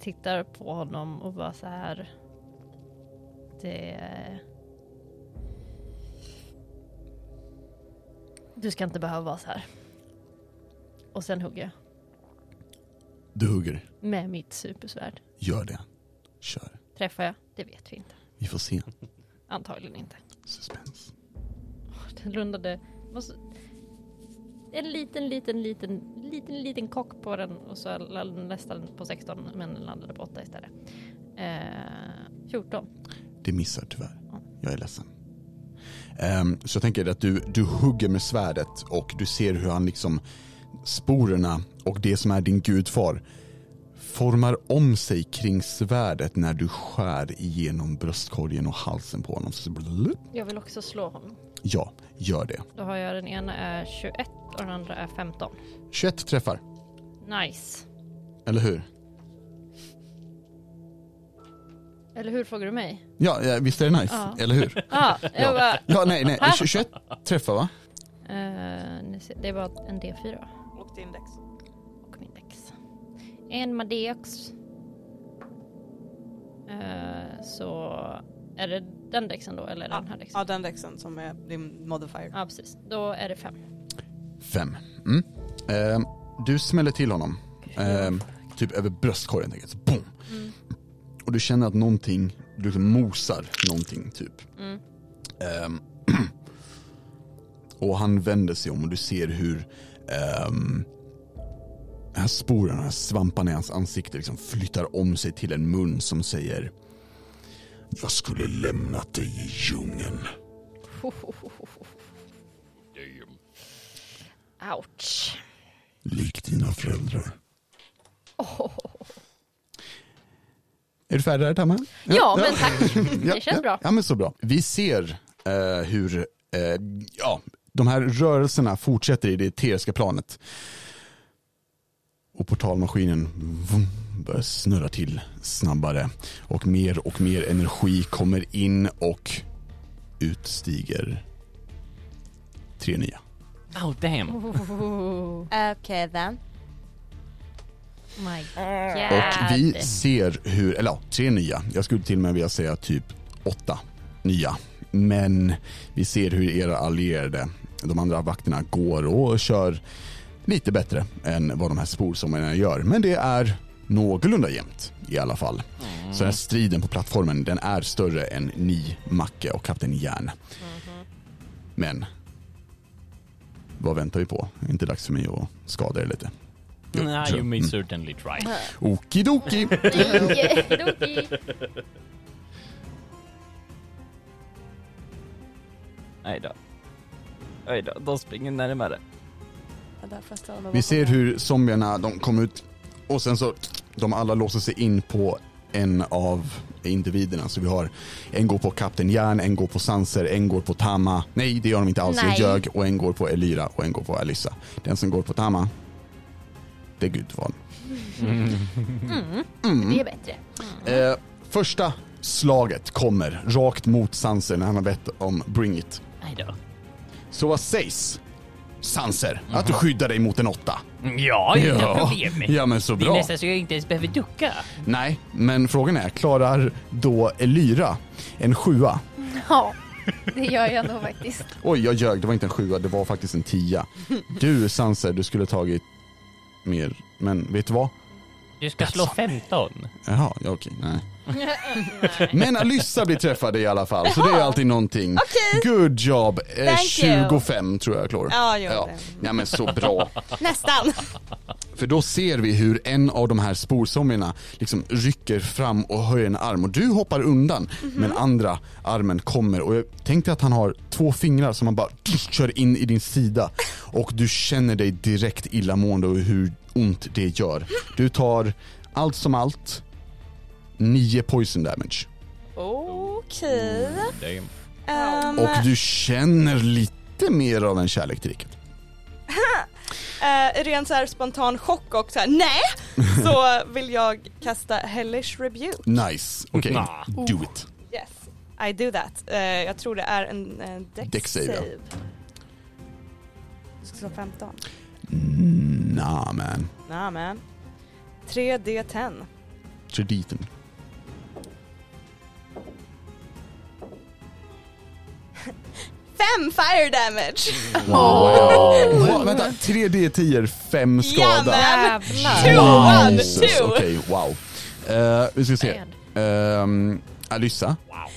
[SPEAKER 5] tittar på honom och bara så här. Det... Du ska inte behöva vara så här. Och sen hugger jag
[SPEAKER 4] Du hugger.
[SPEAKER 5] med mitt supersvärd.
[SPEAKER 4] Gör det. Kör.
[SPEAKER 5] Träffar jag? Det vet vi inte.
[SPEAKER 4] Vi får se.
[SPEAKER 5] Antagligen inte.
[SPEAKER 4] Suspens.
[SPEAKER 5] Den rundade... Måste... En liten, liten, liten, liten, liten kock på den och så landade den nästan på 16 men den landade på 8 istället. Eh, 14.
[SPEAKER 4] Det missar tyvärr. Jag är ledsen. Ehm, så jag tänker att du, du hugger med svärdet och du ser hur han liksom sporerna och det som är din gudfar formar om sig kring svärdet när du skär igenom bröstkorgen och halsen på honom. Så blup.
[SPEAKER 5] Jag vill också slå honom.
[SPEAKER 4] Ja, gör det.
[SPEAKER 5] Då har jag den ena är 21 och den andra är 15.
[SPEAKER 4] 21 träffar,
[SPEAKER 5] Nice.
[SPEAKER 4] eller hur?
[SPEAKER 5] Eller hur frågar du mig?
[SPEAKER 4] Ja, ja, visst är det nice,
[SPEAKER 5] Ja.
[SPEAKER 4] eller hur?
[SPEAKER 5] Ah, jag bara,
[SPEAKER 4] Ja, nej, nej,
[SPEAKER 5] Ah.
[SPEAKER 4] 21 träffar va?
[SPEAKER 5] eh, nu ser- det var en D4 va?
[SPEAKER 2] Och din dex.
[SPEAKER 5] och min dex. En med dex. Eh, så är det den dexen då eller den här dexen?
[SPEAKER 2] Ja, den dexen som är din modifier.
[SPEAKER 5] Ja precis, då är det fem.
[SPEAKER 4] Fem. Mm. Ehm, du smäller till honom. Ehm, typ över bröstkorgen tänker jag. Så boom. Och du känner att någonting, du liksom mosar någonting typ.
[SPEAKER 5] Mm.
[SPEAKER 4] Ehm, och han vänder sig om och du ser hur ehm, de här sporerna, de här svamparna i hans ansikte liksom flyttar om sig till en mun som säger Jag skulle lämnat dig i djungeln.
[SPEAKER 5] Ouch.
[SPEAKER 4] Lik dina föräldrar. Är du färdig där Tamma?
[SPEAKER 5] Ja, men tack.
[SPEAKER 4] Ja,
[SPEAKER 5] Det känns
[SPEAKER 4] ja.
[SPEAKER 5] bra.
[SPEAKER 4] Ja men så bra. Vi ser eh, hur eh, ja, de här rörelserna fortsätter i det eteriska planet. Och portalmaskinen vum, börjar snurra till snabbare. Och mer och mer energi kommer in och utstiger tre nya.
[SPEAKER 8] Oh damn.
[SPEAKER 2] Okej then.
[SPEAKER 5] My
[SPEAKER 4] Och
[SPEAKER 5] god.
[SPEAKER 4] vi ser hur, eller ja, tre nya. Jag skulle till och med vilja säga typ åtta nya. Men vi ser hur era allierade, de andra vakterna, går och kör lite bättre än vad de här sporsommarna gör. Men det är någorlunda jämnt i alla fall. Så den här striden på plattformen, den är större än ni, Macke och Kapten Järn. Men vad väntar vi på? Är det inte dags för mig att skada er lite?
[SPEAKER 6] Nah,
[SPEAKER 4] sure.
[SPEAKER 6] you may
[SPEAKER 4] Mm.
[SPEAKER 6] certainly try.
[SPEAKER 4] Okidoki!
[SPEAKER 5] Doki.
[SPEAKER 6] Nej då. Oj då, de springer närmare.
[SPEAKER 4] Vi ser hur zombierna, de kom ut och sen så, de alla låser sig in på en av individerna. Så vi har, en går på Kapten Järn, en går på Sanser, en går på Tama. Nej, det gör de inte alls, jag
[SPEAKER 7] Nej.
[SPEAKER 4] ljög. Och en går på Elira och en går på Alyssa. Den som går på Tama, det är Gudvan.
[SPEAKER 7] Det
[SPEAKER 4] Mm.
[SPEAKER 7] är bättre.
[SPEAKER 4] Eh, första slaget kommer rakt mot Sanser när han har bett om Bring It.
[SPEAKER 8] Nej då.
[SPEAKER 4] Så vad sägs? Sanser, att du skyddar dig mot en åtta.
[SPEAKER 8] Ja, inga problem.
[SPEAKER 4] ja men så
[SPEAKER 8] Det
[SPEAKER 4] bra.
[SPEAKER 8] är nästan så Alltså, jag inte ens behöver ducka.
[SPEAKER 4] Nej, men frågan är, klarar då Elyra en sjua?
[SPEAKER 1] Ja, det gör jag nog faktiskt.
[SPEAKER 4] Oj, jag ljög, det var inte en sjua, det var faktiskt en tia. Du Sanser, du skulle tagit mer, men vet du vad?
[SPEAKER 8] Du ska slå
[SPEAKER 6] Alltså.
[SPEAKER 8] 15.
[SPEAKER 4] Jaha, ja okej, nej. Men Alyssa blir träffad i alla fall, så det är alltid någonting. Good job! Eh,
[SPEAKER 2] Thank you.
[SPEAKER 4] 25 tror jag jag klarar.
[SPEAKER 2] Ja, gör
[SPEAKER 4] ja.
[SPEAKER 2] det.
[SPEAKER 4] ja, men så bra.
[SPEAKER 2] Nästan.
[SPEAKER 4] För då ser vi hur en av de här sporsomjorna liksom rycker fram och höjer en arm och du hoppar undan men andra armen kommer och jag tänkte att han har två fingrar som han bara kör in i din sida och du känner dig direkt illamående och hur ont det gör. Du tar allt som allt nio poison damage
[SPEAKER 2] Okej.
[SPEAKER 6] Damn.
[SPEAKER 2] Ehm,
[SPEAKER 4] och du känner lite mer av en kärlek till riket.
[SPEAKER 2] eh, ren så här spontan chock och så här nej! Så vill jag kasta Hellish Rebuke.
[SPEAKER 4] Nice, okej,
[SPEAKER 8] Nah.
[SPEAKER 4] do it.
[SPEAKER 2] Yes, I do that. Eh, jag tror det är en uh, dex,
[SPEAKER 4] Dex save,
[SPEAKER 2] save.
[SPEAKER 4] ja.
[SPEAKER 2] Du ska slå 15.
[SPEAKER 4] Nah man,
[SPEAKER 2] Nah, man. 3D10.
[SPEAKER 4] krediten.
[SPEAKER 2] Fem fire damage!
[SPEAKER 4] Mm. Wow, vänta, 3D10, 5 skada.
[SPEAKER 2] Jamen.
[SPEAKER 5] Jävlar.
[SPEAKER 4] Ehm.
[SPEAKER 2] Two, one,
[SPEAKER 4] Jesus,
[SPEAKER 2] two.
[SPEAKER 4] Okej, wow. Eh, vi ska se. Um, Alyssa.
[SPEAKER 2] Ja!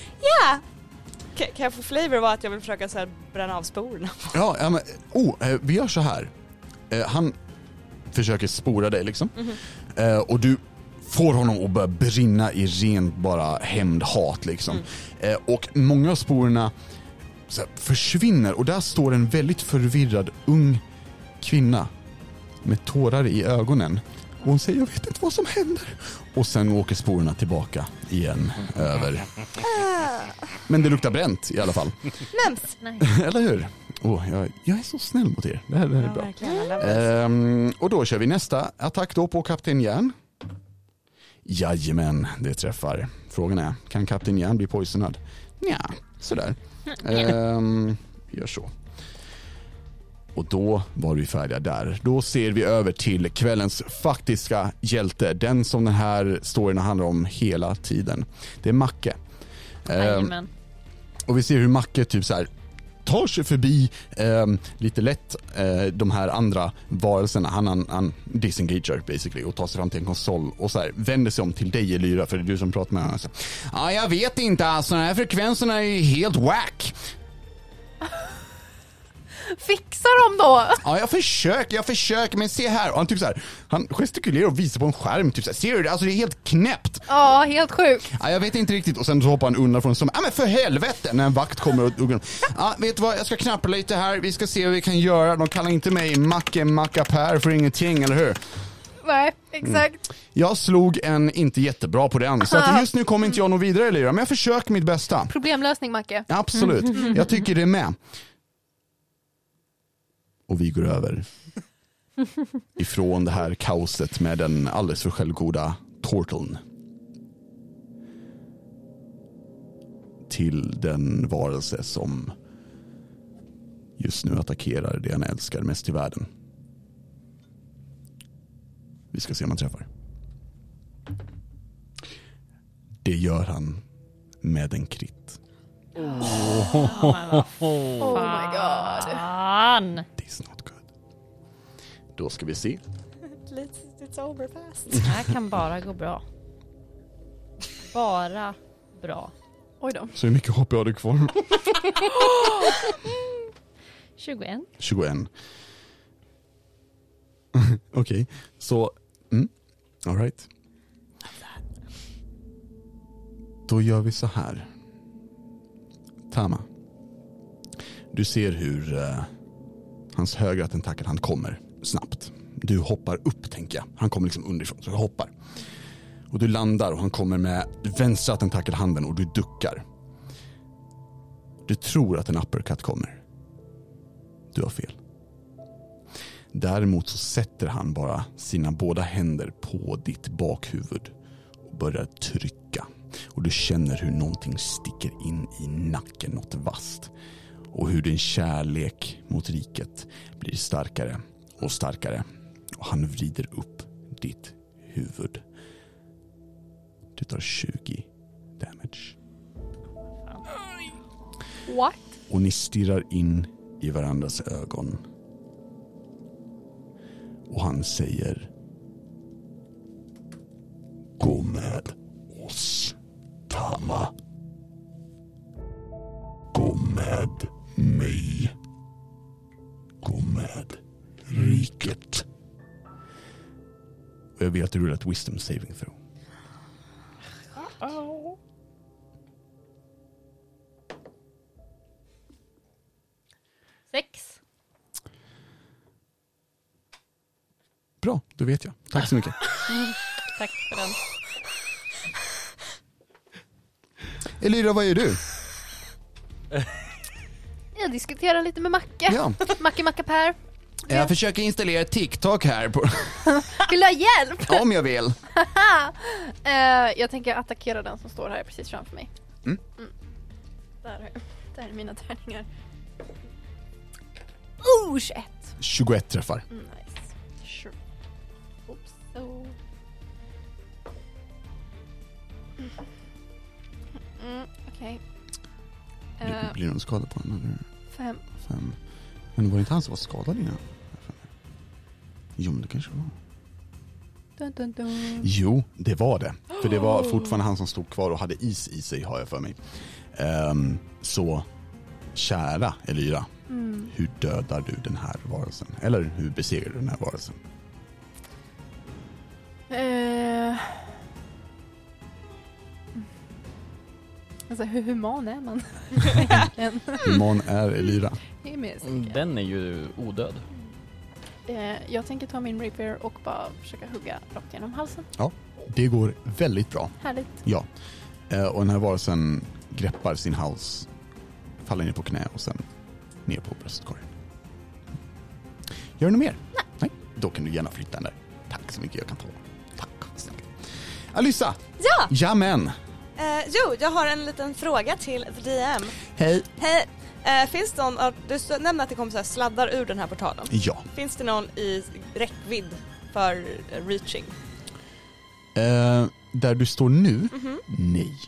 [SPEAKER 2] Ka- Kan jag få flavor var att jag vill försöka så här bränna av sporerna?
[SPEAKER 4] Ja, ja men, oh, eh, vi gör så här. Eh, han försöker spora dig liksom. Eh, och du får honom att börja brinna i rent bara hämndhat liksom. Eh, och många av sporerna så här, försvinner och där står en väldigt förvirrad ung kvinna med tårar i ögonen. Och hon säger jag vet inte vad som händer. Och sen åker sporerna tillbaka igen över. Men det luktar bränt i alla fall.
[SPEAKER 2] Mems!
[SPEAKER 5] Nej.
[SPEAKER 4] Eller hur? Åh, jag, jag är så snäll mot er. Det här, det här är bra.
[SPEAKER 2] verkligen.
[SPEAKER 4] Ehm, och då kör vi nästa attack då på Kapten Järn. Jajamän, det träffar. Frågan är, kan Kapten Järn bli poisonad? Nja, sådär. Ehm, vi gör så. Och då var vi färdiga där. Då ser vi över till kvällens faktiska hjälte. Den som den här storyn handlar om hela tiden. Det är Macke. Ehm,
[SPEAKER 5] Jajamän.
[SPEAKER 4] och vi ser hur Macke typ så här tar sig förbi ehm, lite lätt eh, de här andra varelserna. Han, han, han disengager basically och tar sig fram till en konsol och så här, vänder sig om till dig Elyra för det är du som pratar med honom. Så, Ja, jag vet inte alltså, den här frekvensen är ju helt whack.
[SPEAKER 1] Fixa dem då!
[SPEAKER 4] Ja, jag försöker, jag försöker, men se här. Och han typ så här, han gestikulerar och visar på en skärm typ så här, ser du det? Alltså det är helt knäppt.
[SPEAKER 1] Ja, helt sjukt.
[SPEAKER 4] Ja, jag vet inte riktigt och sen så hoppar han undan från som, ja men för helvete när en vakt kommer och hugger honom. Ja, vet du vad, jag ska knappa lite här, vi ska se vad vi kan göra. De kallar inte mig Macke Mackapär för ingenting, eller hur?
[SPEAKER 1] Nej, exakt.
[SPEAKER 4] Jag slog en inte jättebra på den, så att just nu kommer inte jag nå vidare Lyra, men jag försöker mitt bästa.
[SPEAKER 1] Problemlösning, Macke.
[SPEAKER 4] Absolut, jag tycker det med. Och vi går över ifrån det här kaoset med den alldeles för självgoda Torteln. Till den varelse som just nu attackerar det han älskar mest i världen. Vi ska se om han träffar. Det gör han med en kritt.
[SPEAKER 1] Oh my god.
[SPEAKER 5] Fan!
[SPEAKER 4] This is not good. Då ska vi se.
[SPEAKER 2] It's over fast.
[SPEAKER 5] Det här kan bara gå bra. Bara bra.
[SPEAKER 1] Oj då.
[SPEAKER 4] Så hur mycket HP har du kvar?
[SPEAKER 5] 21.
[SPEAKER 4] 21. Okej, så... Mm, Alright. Då gör vi så här. Tama. Du ser hur eh, hans högra tentakel, han kommer snabbt. Du hoppar upp tänker jag. Han kommer liksom underifrån, så du hoppar. Och du landar och han kommer med vänstra tentakelhanden och du duckar. Du tror att en uppercut kommer. Du har fel. Däremot så sätter han bara sina båda händer på ditt bakhuvud och börjar trycka. Och du känner hur någonting sticker in i nacken, något vasst. Och hur din kärlek mot riket blir starkare och starkare. Och han vrider upp ditt huvud. Du tar 20 damage.
[SPEAKER 1] What?
[SPEAKER 4] Och ni stirrar in i varandras ögon. Och han säger Gå med oss, Tama. Gå med mig. Gå med riket. Och jag vet att du rullar ett wisdom saving throw.
[SPEAKER 5] Sex.
[SPEAKER 4] Bra, då vet jag. Tack så mycket.
[SPEAKER 5] Tack för den.
[SPEAKER 4] Elira, vad gör du?
[SPEAKER 1] Jag diskuterar lite med Macke.
[SPEAKER 4] Ja.
[SPEAKER 1] Macke Mackapär.
[SPEAKER 4] Jag försöker installera TikTok här på,
[SPEAKER 1] Vill du ha hjälp?
[SPEAKER 4] om jag vill.
[SPEAKER 1] Eh, jag tänker attackera den som står här precis framför mig. Mm. Där, har jag- där är mina tärningar. Oh, 21!
[SPEAKER 4] 21 träffar.
[SPEAKER 1] Nice. Sure. Oops, so. Mm, Okej. Eh,
[SPEAKER 4] Det blir någon skada på den? Eller?
[SPEAKER 1] fem.
[SPEAKER 4] Fem. Men var det inte han som var skadad innan? Jo, men det kanske var.
[SPEAKER 1] Dun, dun, dun.
[SPEAKER 4] Jo, det var det. För det var fortfarande han som stod kvar och hade is i sig, har jag för mig. Ehm, så, kära Elyra,
[SPEAKER 1] Mm.
[SPEAKER 4] hur dödar du den här varelsen? Eller hur besegrar du den här varelsen?
[SPEAKER 1] Eh. Alltså hur human är man? Egentligen.
[SPEAKER 2] Mm.
[SPEAKER 4] Human är Elyra.
[SPEAKER 8] Mm,
[SPEAKER 1] Det är mer säkert.
[SPEAKER 6] Den är ju odöd.
[SPEAKER 1] Eh, jag tänker ta min rapier och bara försöka hugga rakt genom halsen.
[SPEAKER 4] Det går väldigt bra.
[SPEAKER 1] Härligt.
[SPEAKER 4] Ja. Eh, Och den här varelsen greppar sin hals, faller ner på knä och sen ner på bröstkorgen. Gör du något mer? Nej. Då kan du gärna flytta den där. Tack så mycket, jag kan ta den. Tack snälla. Alyssa!
[SPEAKER 2] Ja!
[SPEAKER 4] Jamen!
[SPEAKER 2] Eh, jo, jag har en liten fråga till The DM.
[SPEAKER 4] Hej.
[SPEAKER 2] Hej! Eh, finns det någon, du s- nämnde att det kom så här sladdar ur den här portalen.
[SPEAKER 4] Ja.
[SPEAKER 2] Finns det någon i räckvidd för eh, reaching?
[SPEAKER 4] Eh, där du står nu? Nej.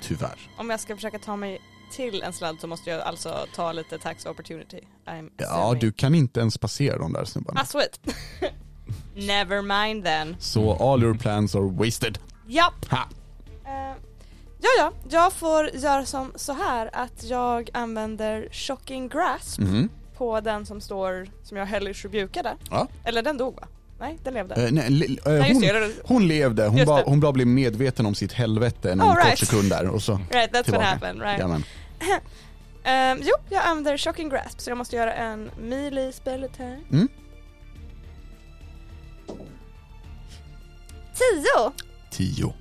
[SPEAKER 4] Tyvärr.
[SPEAKER 2] Om jag ska försöka ta mig till en sladd så måste jag alltså ta lite tax opportunity. I'm
[SPEAKER 4] Ja,
[SPEAKER 2] assuming.
[SPEAKER 4] du kan inte ens passera de där snubbarna.
[SPEAKER 2] Ah, sweet. Never mind then.
[SPEAKER 4] Så all your plans are wasted.
[SPEAKER 2] Japp.
[SPEAKER 4] Ha.
[SPEAKER 2] Eh, ja, ja, jag får göra som så här att jag använder shocking grasp
[SPEAKER 4] Mhm.
[SPEAKER 2] på den som står, som jag höll i där.
[SPEAKER 4] Ja.
[SPEAKER 2] Eller den dog va? Nej, den levde.
[SPEAKER 4] Eh, nej, le- eh,
[SPEAKER 2] Nej, just
[SPEAKER 4] hon,
[SPEAKER 2] det, det-
[SPEAKER 4] hon levde, hon
[SPEAKER 2] Just
[SPEAKER 4] bara,
[SPEAKER 2] det.
[SPEAKER 4] hon bara blev medveten om sitt helvete en
[SPEAKER 2] All
[SPEAKER 4] kort
[SPEAKER 2] right.
[SPEAKER 4] sekund där och så.
[SPEAKER 2] Right, that's
[SPEAKER 4] Tillbaka.
[SPEAKER 2] what happened, right.
[SPEAKER 4] Jajamän.
[SPEAKER 2] Ehm, jo, jag använder shocking grasp så jag måste göra en melee spell attack.
[SPEAKER 4] Mm.
[SPEAKER 2] Tio!
[SPEAKER 4] Tio.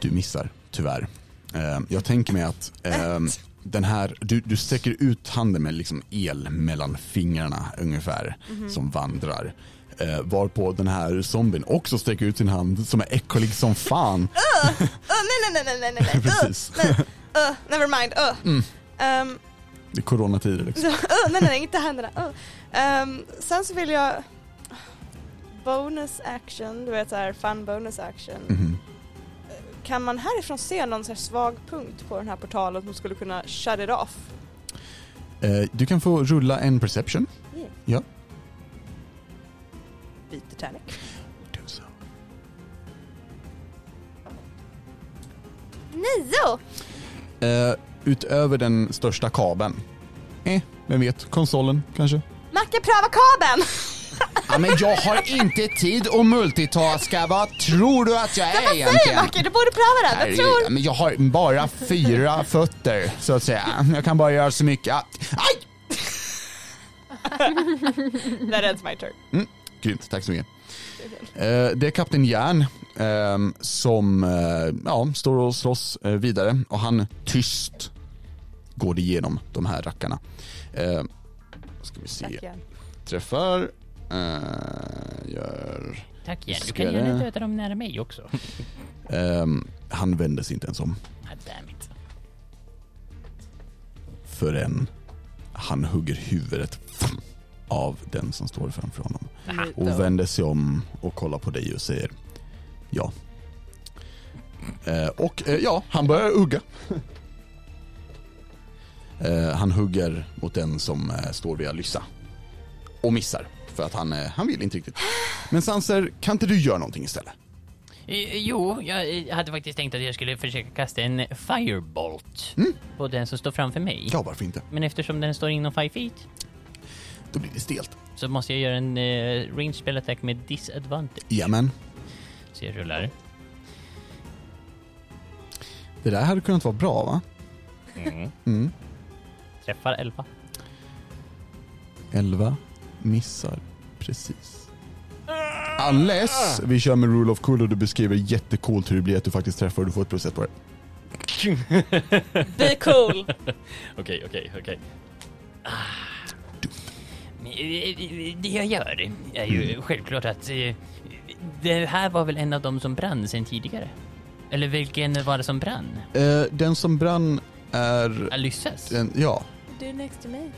[SPEAKER 4] Du missar, tyvärr. Eh, jag tänker mig att eh, den här, du, du sträcker ut handen med liksom el mellan fingrarna ungefär,
[SPEAKER 2] Mhm.
[SPEAKER 4] som vandrar. Eh, varpå den här zombien också sträcker ut sin hand som är äcklig som fan.
[SPEAKER 2] Öh, nej, nej, nej, nej, nej, nej,
[SPEAKER 4] Precis. Mm.
[SPEAKER 2] Öh, öh, never mind, öh. Ehm,
[SPEAKER 4] Det är coronatider liksom.
[SPEAKER 2] Så, "Åh, nej, nej, nej, inte händerna. åh." Ehm, sen så vill jag... Bonus action, du vet så här fun bonus action.
[SPEAKER 4] Mhm.
[SPEAKER 2] Kan man härifrån se någon så här svag punkt på den här portalen som skulle kunna shut it off?
[SPEAKER 4] Eh, du kan få rulla en perception. Ja.
[SPEAKER 2] Byter tärning.
[SPEAKER 4] Do so.
[SPEAKER 2] Nio!
[SPEAKER 4] Eh, utöver den största kabeln. Eh, vem vet, konsolen kanske?
[SPEAKER 2] Man kan pröva kabeln!
[SPEAKER 4] Ja, men jag har inte tid att multitaska, vad tror du att jag är
[SPEAKER 2] Säg Macke, du borde pröva den. Jag
[SPEAKER 4] Herregud,
[SPEAKER 2] tror...
[SPEAKER 4] ja, men jag har bara fyra fötter, så att säga. Jag kan bara göra så mycket. att- Aj!
[SPEAKER 2] That ends my turn.
[SPEAKER 4] Grymt, tack så mycket. Eh, Det är Kapten Järn ehm, som eh, ja, står och slåss eh, vidare och han tyst går det igenom de här rackarna. Eh, Ska vi se, träffar, eh, gör
[SPEAKER 8] Tack igen, du
[SPEAKER 4] Ska
[SPEAKER 8] kan gärna
[SPEAKER 4] det-
[SPEAKER 8] döda dem nära mig också.
[SPEAKER 4] Ehm, han vänder sig inte ens om
[SPEAKER 8] Ah, damn it.
[SPEAKER 4] förrän han hugger huvudet av den som står framför honom. Och vänder sig om och kollar på dig och säger ja. Eh, och eh, ja, han börjar hugga. Eh, han hugger mot den som eh, står vid Alyssa. Och missar, för att han, eh, han vill inte riktigt. Men Sanser, kan inte du göra någonting istället?
[SPEAKER 8] Eh, Jo, jag eh, hade faktiskt tänkt att jag skulle försöka kasta en firebolt på den som står framför mig.
[SPEAKER 4] Ja, varför inte?
[SPEAKER 8] Men eftersom den står inom 5 feet
[SPEAKER 4] Då blir det stelt.
[SPEAKER 8] så måste jag göra en uh, range spell attack med disadvantage.
[SPEAKER 4] Jajamän.
[SPEAKER 8] Så jag rullar.
[SPEAKER 4] Det där hade kunnat vara bra va? Mm.
[SPEAKER 8] Träffar 11.
[SPEAKER 4] 11 missar precis. Unless vi kör med rule of cool och du beskriver jättecoolt hur det blir att du faktiskt träffar och du får ett plus ett på det.
[SPEAKER 2] Be cool.
[SPEAKER 6] Okej, okej, okej.
[SPEAKER 8] Ah. Men, eh, eh, Det jag gör är ju
[SPEAKER 6] Mm.
[SPEAKER 8] självklart att eh, det här var väl en av dem som brann sen tidigare? Eller vilken var det som brann?
[SPEAKER 4] Eh, den som brann är...
[SPEAKER 8] Alyssas?
[SPEAKER 6] Eh,
[SPEAKER 4] Den, ja,
[SPEAKER 2] Du next to me,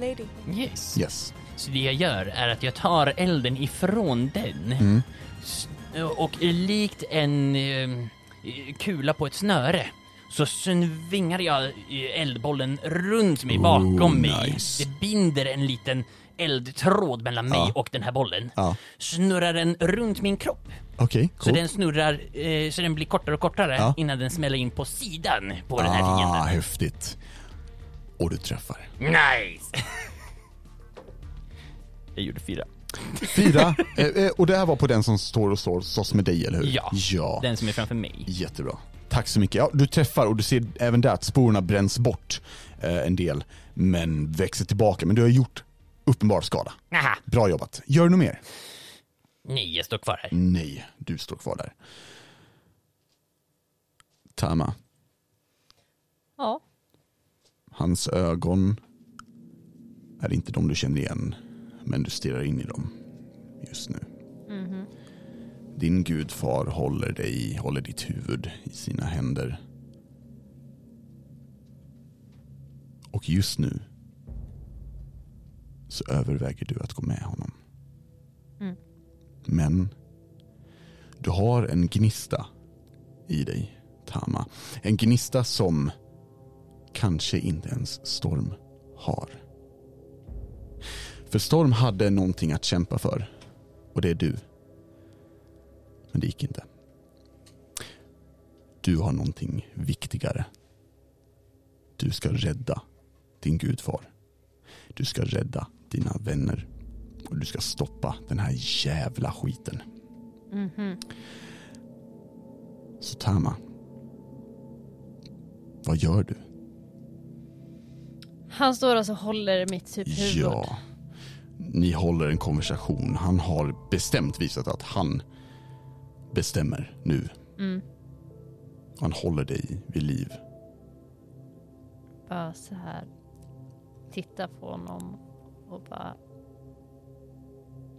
[SPEAKER 2] lady.
[SPEAKER 8] Yes.
[SPEAKER 4] yes.
[SPEAKER 8] Så det jag gör är att jag tar elden ifrån den
[SPEAKER 4] Mm.
[SPEAKER 8] S- och likt en eh, kula på ett snöre så svingar jag eh, eldbollen runt mig
[SPEAKER 4] Oh,
[SPEAKER 8] bakom mig.
[SPEAKER 4] nice.
[SPEAKER 8] Det binder en liten eldtråd mellan mig och den här bollen.
[SPEAKER 4] Ja.
[SPEAKER 8] Snurrar den runt min kropp.
[SPEAKER 4] Okej,
[SPEAKER 8] Så
[SPEAKER 4] coolt.
[SPEAKER 8] den snurrar eh, så den blir kortare och kortare
[SPEAKER 4] Ja.
[SPEAKER 8] innan den smäller in på sidan på den här
[SPEAKER 4] Ah,
[SPEAKER 8] fienden.
[SPEAKER 4] häftigt. Och du träffar.
[SPEAKER 8] Nice! jag gjorde fyra.
[SPEAKER 4] Fyra. eh, eh, och det här var på den som står och står slåss med dig, eller hur?
[SPEAKER 8] Ja.
[SPEAKER 4] ja.
[SPEAKER 8] Den som är framför mig.
[SPEAKER 4] Jättebra. Tack så mycket. Ja, du träffar och du ser även där att sporerna bränns bort eh, en del, men växer tillbaka. Men du har gjort uppenbar skada.
[SPEAKER 8] Aha.
[SPEAKER 4] Bra jobbat. Gör du något mer?
[SPEAKER 8] Nej, jag står kvar
[SPEAKER 4] Mm.
[SPEAKER 8] här.
[SPEAKER 4] Nej, du står kvar där. Tama,
[SPEAKER 5] Ja.
[SPEAKER 4] hans ögon är inte de du känner igen, men du stirrar in i dem just nu. Din gudfar håller dig, håller ditt huvud i sina händer. Och just nu så överväger du att gå med honom.
[SPEAKER 5] Mm.
[SPEAKER 4] Men du har en gnista i dig, Tama. En gnista som kanske inte ens Storm har. För Storm hade någonting att kämpa för och det är du. Men det gick inte. Du har någonting viktigare. Du ska rädda din gudfar. Du ska rädda dina vänner. Och du ska stoppa den här jävla skiten. Så Tama. Vad gör du?
[SPEAKER 5] Han står alltså och håller mitt typ huvud.
[SPEAKER 4] Ja. Ni håller en konversation. Han har bestämt visat att han bestämmer nu.
[SPEAKER 5] Mm.
[SPEAKER 4] Han håller dig vid liv.
[SPEAKER 5] Bara så här. Titta på honom och bara.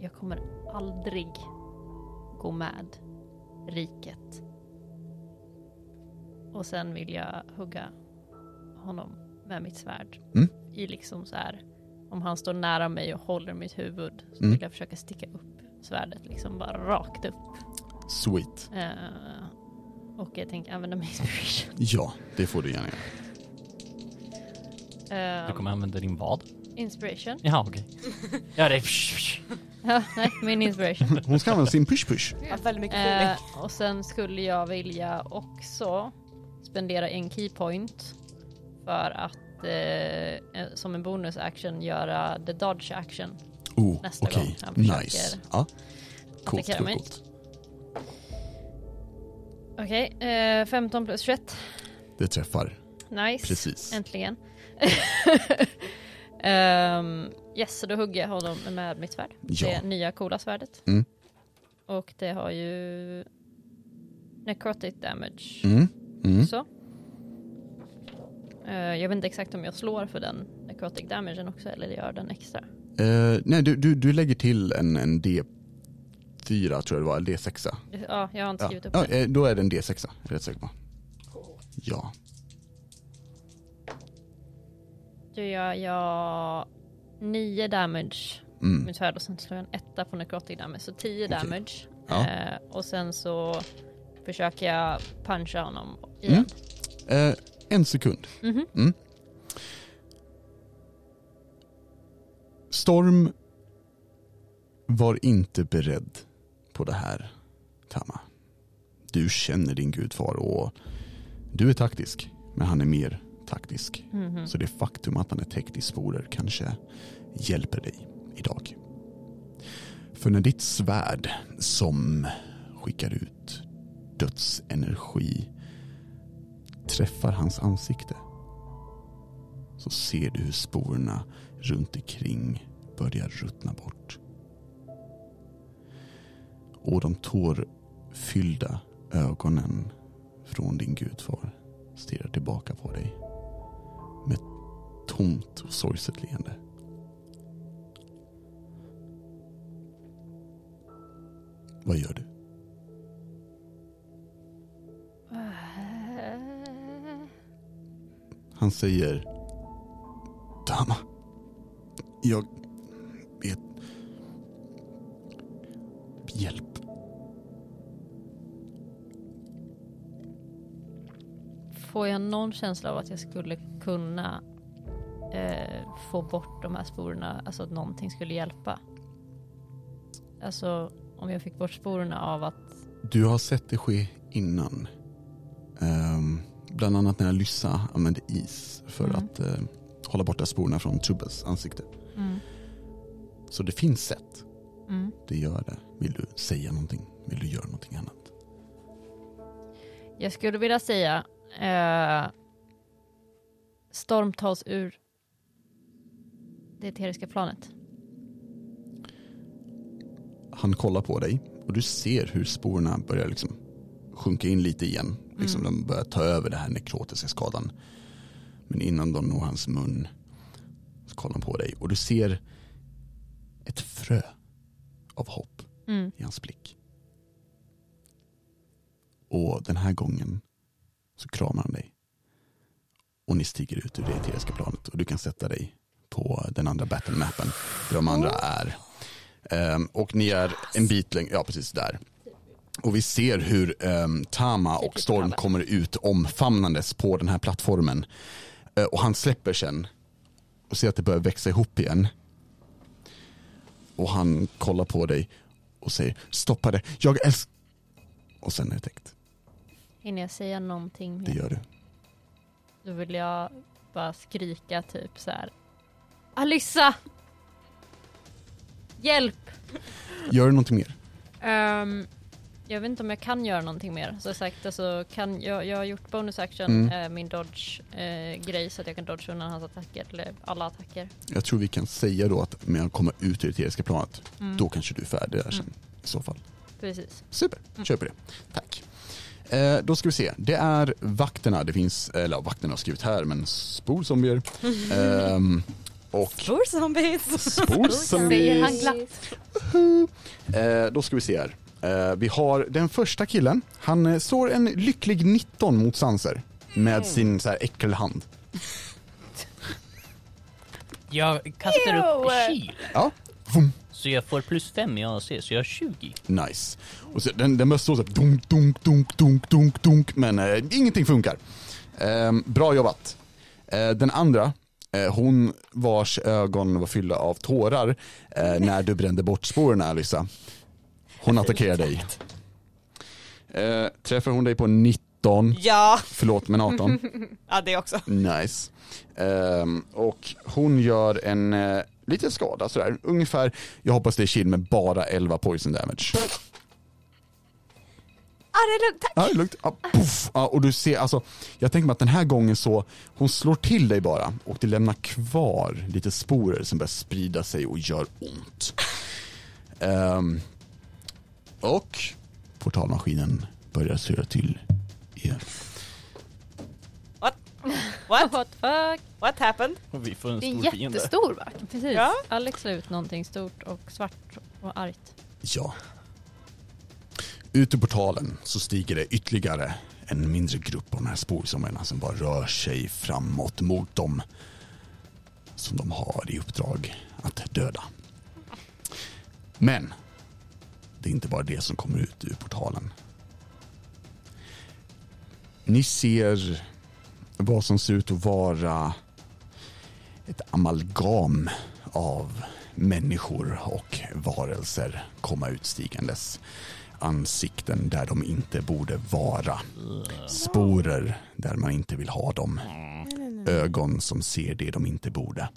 [SPEAKER 5] Jag kommer aldrig gå med riket. Och sen vill jag hugga honom med mitt svärd.
[SPEAKER 4] Mm.
[SPEAKER 5] I liksom så här. Om han står nära mig och håller mitt huvud så
[SPEAKER 4] Mm.
[SPEAKER 5] vill jag försöka sticka upp svärdet liksom bara rakt upp.
[SPEAKER 4] Sweet.
[SPEAKER 5] Eh, och jag tänker använda min inspiration.
[SPEAKER 4] Ja, det får du gärna göra.
[SPEAKER 5] Eh,
[SPEAKER 6] Du kommer använda din vad?
[SPEAKER 5] Inspiration?
[SPEAKER 8] Jaha, okej. Ja, det... psh, psh.
[SPEAKER 5] Ja, nej, min inspiration.
[SPEAKER 4] Hon ska använda sin push-push.
[SPEAKER 2] Jag har väldigt mycket feeling.
[SPEAKER 5] Eh, och sen skulle jag vilja också spendera en keypoint för att eh, eh, som en bonus action göra the dodge action.
[SPEAKER 4] Oh,
[SPEAKER 5] Nästa gång
[SPEAKER 4] okej.
[SPEAKER 5] han försöker
[SPEAKER 4] Nice. Ja. Coolt,
[SPEAKER 5] attackera
[SPEAKER 4] coolt,
[SPEAKER 5] mig.
[SPEAKER 4] coolt.
[SPEAKER 5] Okej, eh, 15 plus 21.
[SPEAKER 4] Det träffar.
[SPEAKER 5] Nice.
[SPEAKER 4] Precis.
[SPEAKER 5] Äntligen. Ehm, yes, så då hugger jag honom med mitt svärd.
[SPEAKER 4] Ja.
[SPEAKER 5] Det nya coola svärdet.
[SPEAKER 4] Mm.
[SPEAKER 5] Och det har ju necrotic damage.
[SPEAKER 4] Mm. Mm.
[SPEAKER 5] Så. Eh, jag vet inte exakt om jag slår för den necrotic damagen också eller gör den extra.
[SPEAKER 4] Eh, nej, du, du, du lägger till en, en D4 tror jag det var, eller D6.
[SPEAKER 5] Eh, Ja, jag har inte
[SPEAKER 4] Ja.
[SPEAKER 5] skrivit upp
[SPEAKER 4] Ja,
[SPEAKER 5] den.
[SPEAKER 4] eh, då är det en D6, jag är rätt säker på. Ja.
[SPEAKER 5] Då gör jag 9 damage med
[SPEAKER 4] Mm.
[SPEAKER 5] mitt svärd och sen slår jag en etta på necrotic damage. Så 10
[SPEAKER 4] Okej.
[SPEAKER 5] damage.
[SPEAKER 4] Ja.
[SPEAKER 5] Eh, och sen så försöker jag puncha honom igen.
[SPEAKER 4] Mm. Eh, en sekund.
[SPEAKER 5] Mhm.
[SPEAKER 4] Mm. Storm var inte beredd på det här, Tama. Du känner din gudfar och du är taktisk, men han är mer taktisk.
[SPEAKER 5] Mhm.
[SPEAKER 4] Så det faktum att han är täckt i sporer kanske hjälper dig idag. För när ditt svärd som skickar ut dödsenergi träffar hans ansikte så ser du hur sporerna runt omkring börjar ruttna bort. Och de tårfyllda ögonen från din gudfar stirrar tillbaka på dig med ett tomt och sorgset leende. Vad gör du?
[SPEAKER 5] eh,
[SPEAKER 4] Han säger Tama. Jag vet. Hjälp.
[SPEAKER 5] Får jag någon känsla av att jag skulle kunna eh, få bort de här sporerna, alltså att någonting skulle hjälpa? Alltså om jag fick bort sporerna av att...
[SPEAKER 4] Du har sett det ske innan. Ehm, bland annat när Lyssa använde is för
[SPEAKER 5] Mm.
[SPEAKER 4] att eh, hålla borta sporerna från Trubbes ansikte.
[SPEAKER 5] Mm.
[SPEAKER 4] Så det finns sätt.
[SPEAKER 5] Mm.
[SPEAKER 4] Det gör det. Vill du säga någonting? Vill du göra någonting annat?
[SPEAKER 5] Jag skulle vilja säga eh, Storm tas ur det eteriska planet.
[SPEAKER 4] Han kollar på dig och du ser hur sporerna börjar liksom sjunka in lite igen. Liksom De börjar ta över den här nekrotiska skadan. Men innan de når hans mun så kollar han på dig och du ser ett frö av hopp
[SPEAKER 5] Mm.
[SPEAKER 4] i hans blick. Och den här gången så kramar han dig. Och ni stiger ut ur det eteriska planet och du kan sätta dig på den andra battlemappen där de andra är. Ehm, och ni är en bit längre, ja precis där. Och vi ser hur ehm, Tama och Storm kommer ut omfamnandes på den här plattformen. Eh, och han släpper sen och ser att det börjar växa ihop igen. Och han kollar på dig och säger stoppa det, jag älskar... Och sen är det täckt,
[SPEAKER 5] Hinner jag säga någonting
[SPEAKER 4] det
[SPEAKER 5] mer?
[SPEAKER 4] gör du.
[SPEAKER 5] Då vill jag bara skrika typ så här. Alyssa! Hjälp!
[SPEAKER 4] Gör du någonting mer?
[SPEAKER 5] Ehm, jag vet inte om jag kan göra någonting mer. Som sagt, alltså, kan jag, jag har gjort bonus action,
[SPEAKER 4] Mm.
[SPEAKER 5] eh, min dodge-grej, så att jag kan dodge undan hans attacker, eller alla attacker.
[SPEAKER 4] Jag tror vi kan säga då att med att komma ut ur det eteriska planet,
[SPEAKER 5] Mm.
[SPEAKER 4] då kanske du är färdig där sen.
[SPEAKER 5] Mm.
[SPEAKER 4] I så fall.
[SPEAKER 5] Precis.
[SPEAKER 4] Super, kör på det. Tack. Eh, då ska vi se, det är vakterna. Det finns, eller ja, vakterna har skrivit här, men sporzombier. Ehm, och
[SPEAKER 2] Tror zombies!
[SPEAKER 1] Säger
[SPEAKER 4] sporzombier.
[SPEAKER 1] han glatt.
[SPEAKER 4] Eh, då ska vi se här. Eh, vi har den första killen. Han eh, slår en lycklig 19 mot Sanser med sin så här äckelhand.
[SPEAKER 8] Jag kastar upp
[SPEAKER 1] Ew.
[SPEAKER 8] kyl.
[SPEAKER 4] Ja.
[SPEAKER 8] Så jag får plus fem i AC, så jag har 20.
[SPEAKER 4] Nice. Och så, den, den börjar slå så här dunk, dunk, dunk, dunk, dunk, dunk, men eh, ingenting funkar. Ehm, bra jobbat. Eh, den andra, eh, hon vars ögon var fyllda av tårar eh, när du brände bort spåren, Alyssa. Hon attackerar dig. Eh, träffar hon dig på 19,
[SPEAKER 2] Ja,
[SPEAKER 4] förlåt men 18.
[SPEAKER 2] ja det också.
[SPEAKER 4] Nice. Ehm, och hon gör en eh, liten skada sådär, ungefär, jag hoppas det är chill med bara 11 poison damage.
[SPEAKER 2] Ah, det är lugnt, tack!
[SPEAKER 4] Ja, det är lugnt. Ja, puff. Ja, och du ser, alltså, jag tänker mig att den här gången så, hon slår till dig bara och det lämnar kvar lite sporer som börjar sprida sig och gör ont. Ehm, och portalmaskinen börjar surra till igen.
[SPEAKER 2] What?
[SPEAKER 5] What the fuck?
[SPEAKER 2] What happened?
[SPEAKER 6] Och vi får en
[SPEAKER 1] Det är en
[SPEAKER 6] stor fiende.
[SPEAKER 1] jättestor vakt.
[SPEAKER 5] Precis.
[SPEAKER 2] Ja.
[SPEAKER 5] Alex la ut någonting stort och svart och argt.
[SPEAKER 4] Ja. Ut ur portalen så stiger det ytterligare en mindre grupp av de här sporsommarna som bara rör sig framåt mot dem som de har i uppdrag att döda. Men det är inte bara det som kommer ut ur portalen. Ni ser vad som ser ut att vara ett amalgam av människor och varelser komma utstigandes. Ansikten där de inte borde vara. Sporer där man inte vill ha dem. Ögon som ser det de inte borde.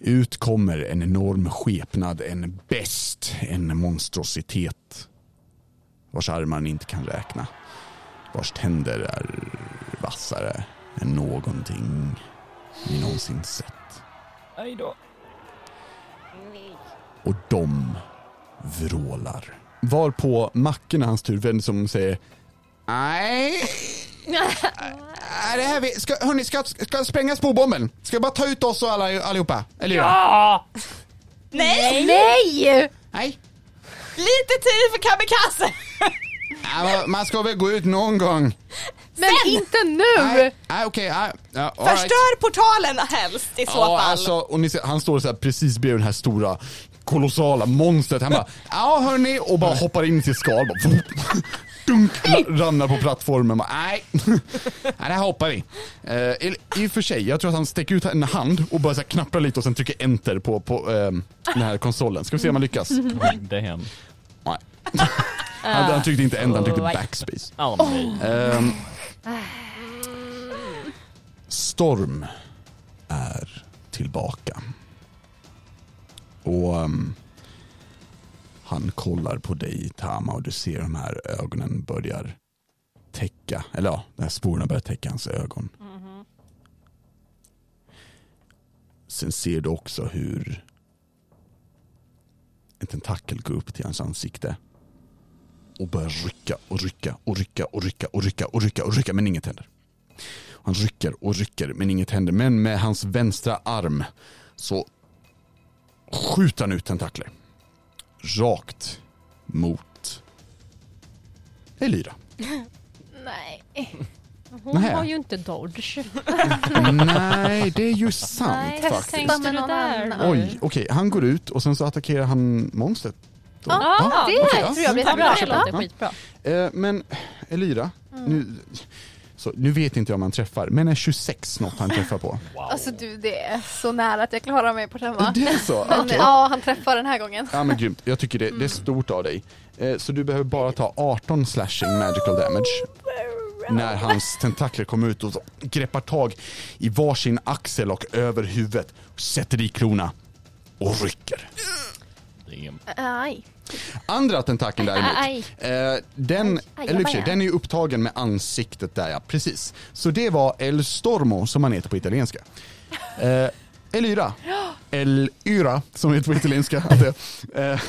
[SPEAKER 4] Ut kommer en enorm skepnad, en best, en monstrositet vars armar ni inte kan räkna. Vars tänder är vassare än någonting ni någonsin sett.
[SPEAKER 6] Aj då.
[SPEAKER 4] och de vrålar. Varpå Macken och hans tur vänder sig om och säger Nej, nej, det här vi, ska, hörni, ska, ska jag spränga spårbomben? Ska jag bara ta ut oss och alla, allihopa? Eller ja!
[SPEAKER 2] Nej!
[SPEAKER 1] Nej!
[SPEAKER 4] Nej,
[SPEAKER 2] Lite tid för kamikaze!
[SPEAKER 4] Ja, man ska väl gå ut någon gång.
[SPEAKER 1] Men inte nu!
[SPEAKER 4] Nej, nej, okej, nej. ja, all right.
[SPEAKER 2] Förstör portalen helst i så
[SPEAKER 4] Ja,
[SPEAKER 2] fall.
[SPEAKER 4] alltså, och ni ser, han står så här precis bredvid det här stora kolossala monstret. Han bara, ja hörni, och bara hoppar in i sitt skal. Bara, vroom. dunk, la- ramlar på plattformen. Bara, nej, nej, det här hoppar vi. Eh, eller, I och för sig, jag tror att han sträcker ut en hand och bara så här knappar lite och sen trycker enter på, på ehm, den här konsolen. Ska vi se om han lyckas?
[SPEAKER 8] Mm.
[SPEAKER 6] Damn.
[SPEAKER 4] Nej. Han, han tryckte inte enter, han tryckte backspace.
[SPEAKER 6] Oh, nej.
[SPEAKER 4] Ehm. Storm är tillbaka. Och ehm, han kollar på dig Tama och du ser de här ögonen börjar täcka, eller ja, de här sporerna börjar täcka hans ögon. Sen ser du också hur En tentakel går upp till hans ansikte och börjar rycka och rycka och rycka och rycka och rycka och rycka och rycka men inget händer. Han rycker och rycker men inget händer. Men med hans vänstra arm så skjuter han ut tentakler. Rakt mot Elira.
[SPEAKER 1] Nej.
[SPEAKER 5] Hon
[SPEAKER 4] Nähä.
[SPEAKER 5] har ju inte dodge.
[SPEAKER 4] Nej, det är ju sant
[SPEAKER 5] Nej,
[SPEAKER 4] faktiskt.
[SPEAKER 5] tänkte
[SPEAKER 1] Med
[SPEAKER 5] du
[SPEAKER 1] någon
[SPEAKER 5] där?
[SPEAKER 1] annan.
[SPEAKER 4] Oj, okej, han går ut och sen så attackerar han monstret. då.
[SPEAKER 1] Ja,
[SPEAKER 4] Ja,
[SPEAKER 1] det
[SPEAKER 4] okej, ja.
[SPEAKER 1] tror jag blir
[SPEAKER 5] Ja,
[SPEAKER 1] bra.
[SPEAKER 5] bra, det låter
[SPEAKER 4] Ja.
[SPEAKER 5] skitbra.
[SPEAKER 4] Eh, men Elira,
[SPEAKER 1] Mm.
[SPEAKER 4] nu, så, nu vet inte jag om han träffar, men är 26 något han träffar på?
[SPEAKER 6] Wow.
[SPEAKER 1] Alltså du, det är så nära att jag klarar mig på den va?
[SPEAKER 4] Det är så?
[SPEAKER 1] Men
[SPEAKER 4] okej.
[SPEAKER 1] ja, Mm. han träffar den här gången.
[SPEAKER 4] Ja men grymt, jag tycker det, det är stort av dig. Eh, så du behöver bara ta 18 slashing magical damage. När hans tentakler kommer ut och så greppar tag i varsin axel och över huvudet, sätter i klorna och rycker.
[SPEAKER 6] Det är ingen-
[SPEAKER 1] Aj.
[SPEAKER 4] Andra tentakeln
[SPEAKER 5] Aj,
[SPEAKER 4] däremot, eh, den,
[SPEAKER 5] aj,
[SPEAKER 4] eller i och för sig,
[SPEAKER 5] abaja.
[SPEAKER 4] den är ju upptagen med ansiktet där ja, precis. Så det var El Stormo som han heter på italienska. Eh, Elyra, El Yra som heter på italienska. antar jag. Eh,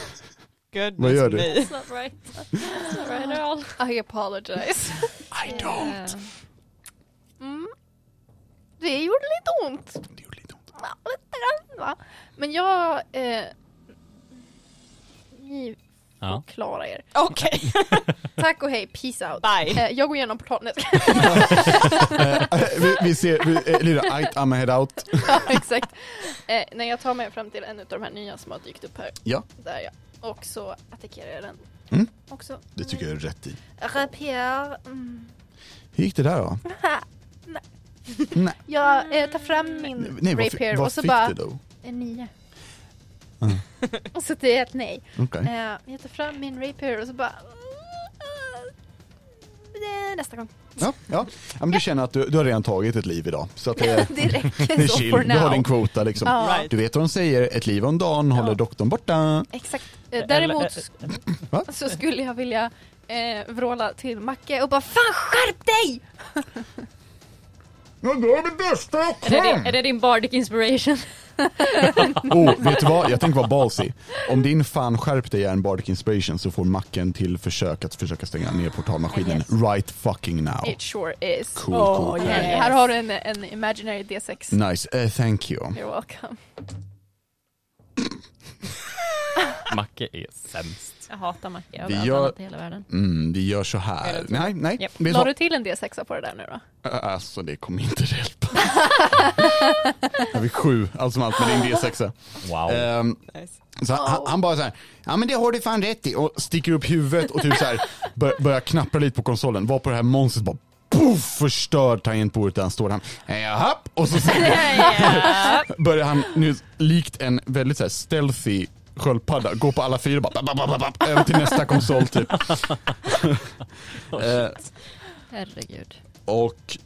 [SPEAKER 2] Goodness
[SPEAKER 4] Vad gör du?
[SPEAKER 2] me.
[SPEAKER 5] It's not right. It's not right at all.
[SPEAKER 1] I apologize.
[SPEAKER 4] I don't.
[SPEAKER 1] Mm. Det gjorde lite ont.
[SPEAKER 4] Det gjorde lite ont.
[SPEAKER 1] Ja, lite grann va. Men jag... Eh, ni
[SPEAKER 6] Ja.
[SPEAKER 1] klarar er.
[SPEAKER 2] Okej,
[SPEAKER 1] Tack och hej, peace out.
[SPEAKER 2] bye.
[SPEAKER 1] Eh, jag går igenom portalen.
[SPEAKER 4] Eh, vi, vi ser, vi, eh, Elyra, I, I'm head out.
[SPEAKER 1] ja, exakt. Eh, nej, jag tar mig fram till en av de här nya som har dykt upp här.
[SPEAKER 4] Ja.
[SPEAKER 1] Där ja. Och så attackerar jag den.
[SPEAKER 4] Mm.
[SPEAKER 1] Också.
[SPEAKER 4] Det tycker jag är rätt i.
[SPEAKER 1] Rapier. Mm.
[SPEAKER 4] Hur gick det där då?
[SPEAKER 1] Jag eh, tar fram min
[SPEAKER 4] Nej, vad, fi-
[SPEAKER 1] rapier
[SPEAKER 4] vad
[SPEAKER 1] och så
[SPEAKER 4] fick
[SPEAKER 1] bara...
[SPEAKER 4] du då?
[SPEAKER 1] En nia.
[SPEAKER 4] Mm.
[SPEAKER 1] så det är ett nej.
[SPEAKER 4] Okej.
[SPEAKER 1] Eh, jag tar fram min rapier och så bara... Eh, Nästa gång.
[SPEAKER 4] Ja, ja. ja, men du känner att du, du har redan tagit ett liv idag. Så att det,
[SPEAKER 1] Det
[SPEAKER 4] det är
[SPEAKER 1] räcker så
[SPEAKER 4] chill,
[SPEAKER 1] for
[SPEAKER 4] du har
[SPEAKER 1] now.
[SPEAKER 4] din kvota liksom.
[SPEAKER 1] Ja,
[SPEAKER 2] Right.
[SPEAKER 4] Du vet vad de säger, ett liv om dagen håller
[SPEAKER 1] Ja.
[SPEAKER 4] doktorn borta.
[SPEAKER 1] exakt. Eh, Däremot sk-
[SPEAKER 4] Va?
[SPEAKER 1] så skulle jag vilja eh, vråla till Macke och bara Fan skärp dig!
[SPEAKER 4] Jag gör det bästa jag
[SPEAKER 5] Är det, din, är det din bardic inspiration?
[SPEAKER 4] Oh, vet du vad? Jag tänker vara ballsy. Om din fan skärp dig är en Bardic Inspiration så får macken till försök att försöka stänga ner portalmaskinen right fucking now.
[SPEAKER 1] It sure is.
[SPEAKER 4] Cool,
[SPEAKER 2] Oh,
[SPEAKER 4] cool.
[SPEAKER 2] yeah.
[SPEAKER 1] Här har du en, en imaginary D6.
[SPEAKER 4] Nice, Eh, thank you.
[SPEAKER 1] You're welcome.
[SPEAKER 6] Macke är sämst.
[SPEAKER 5] Jag hatar mackor
[SPEAKER 4] Vi
[SPEAKER 5] överallt
[SPEAKER 4] gör-
[SPEAKER 5] annat i hela världen.
[SPEAKER 4] Mm, vi gör så här. Nej, nej.
[SPEAKER 5] Japp.
[SPEAKER 4] Vet du
[SPEAKER 1] La
[SPEAKER 4] vad?
[SPEAKER 1] du till en D6 på det där nu då?
[SPEAKER 4] Ä- Alltså det kommer inte hjälpa. Jag fick sju, allt som allt med din D6.
[SPEAKER 6] Wow.
[SPEAKER 4] Ehm,
[SPEAKER 2] Nice.
[SPEAKER 4] så han, han- han bara så här, ja men det har du fan rätt i och sticker upp huvudet och typ så här bör, börjar knappra lite på konsolen. Var på det här monstret bara Poff, förstör tangentbordet där han står. Han, jaha, och så börjar han nu likt en väldigt så här stealthy sköldpadda gå på alla fyra bara, bap, bap, bap, bap, över till nästa konsol typ. Eh,
[SPEAKER 5] Herregud.
[SPEAKER 4] och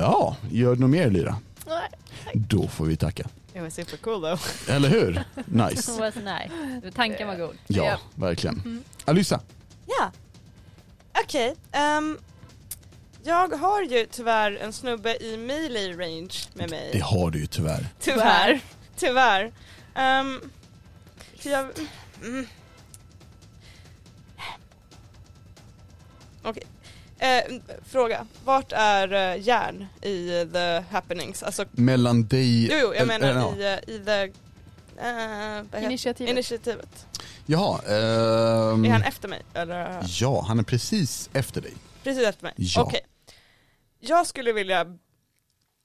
[SPEAKER 4] ja, gör du något mer Lyra?
[SPEAKER 1] Nej.
[SPEAKER 4] Då får vi tacka.
[SPEAKER 2] It was super cool though.
[SPEAKER 4] Eller hur? Nice.
[SPEAKER 5] Was nice. Tanken var god.
[SPEAKER 4] Ja,
[SPEAKER 1] Ja.
[SPEAKER 4] verkligen. Alyssa,
[SPEAKER 2] Ja. Okej. ehm, jag har ju tyvärr en snubbe i melee range med mig.
[SPEAKER 4] det har du ju tyvärr.
[SPEAKER 2] Tyvärr. Tyvärr. Ehm, för jag... Mm. Okej. Eh, fråga. Vart är eh, järn i the happenings? Alltså,
[SPEAKER 4] Mellan dig...
[SPEAKER 2] jo, jo, jag
[SPEAKER 4] eller-
[SPEAKER 2] menar
[SPEAKER 4] eller, ja.
[SPEAKER 2] i, eh, i the... eh, vad heter-
[SPEAKER 1] Initiativet.
[SPEAKER 2] initiativet.
[SPEAKER 4] Jaha, ehm,
[SPEAKER 2] Är han efter mig? Eller?
[SPEAKER 4] ja, han är precis efter dig.
[SPEAKER 2] Precis efter mig?
[SPEAKER 4] Ja.
[SPEAKER 2] Okej. Jag skulle vilja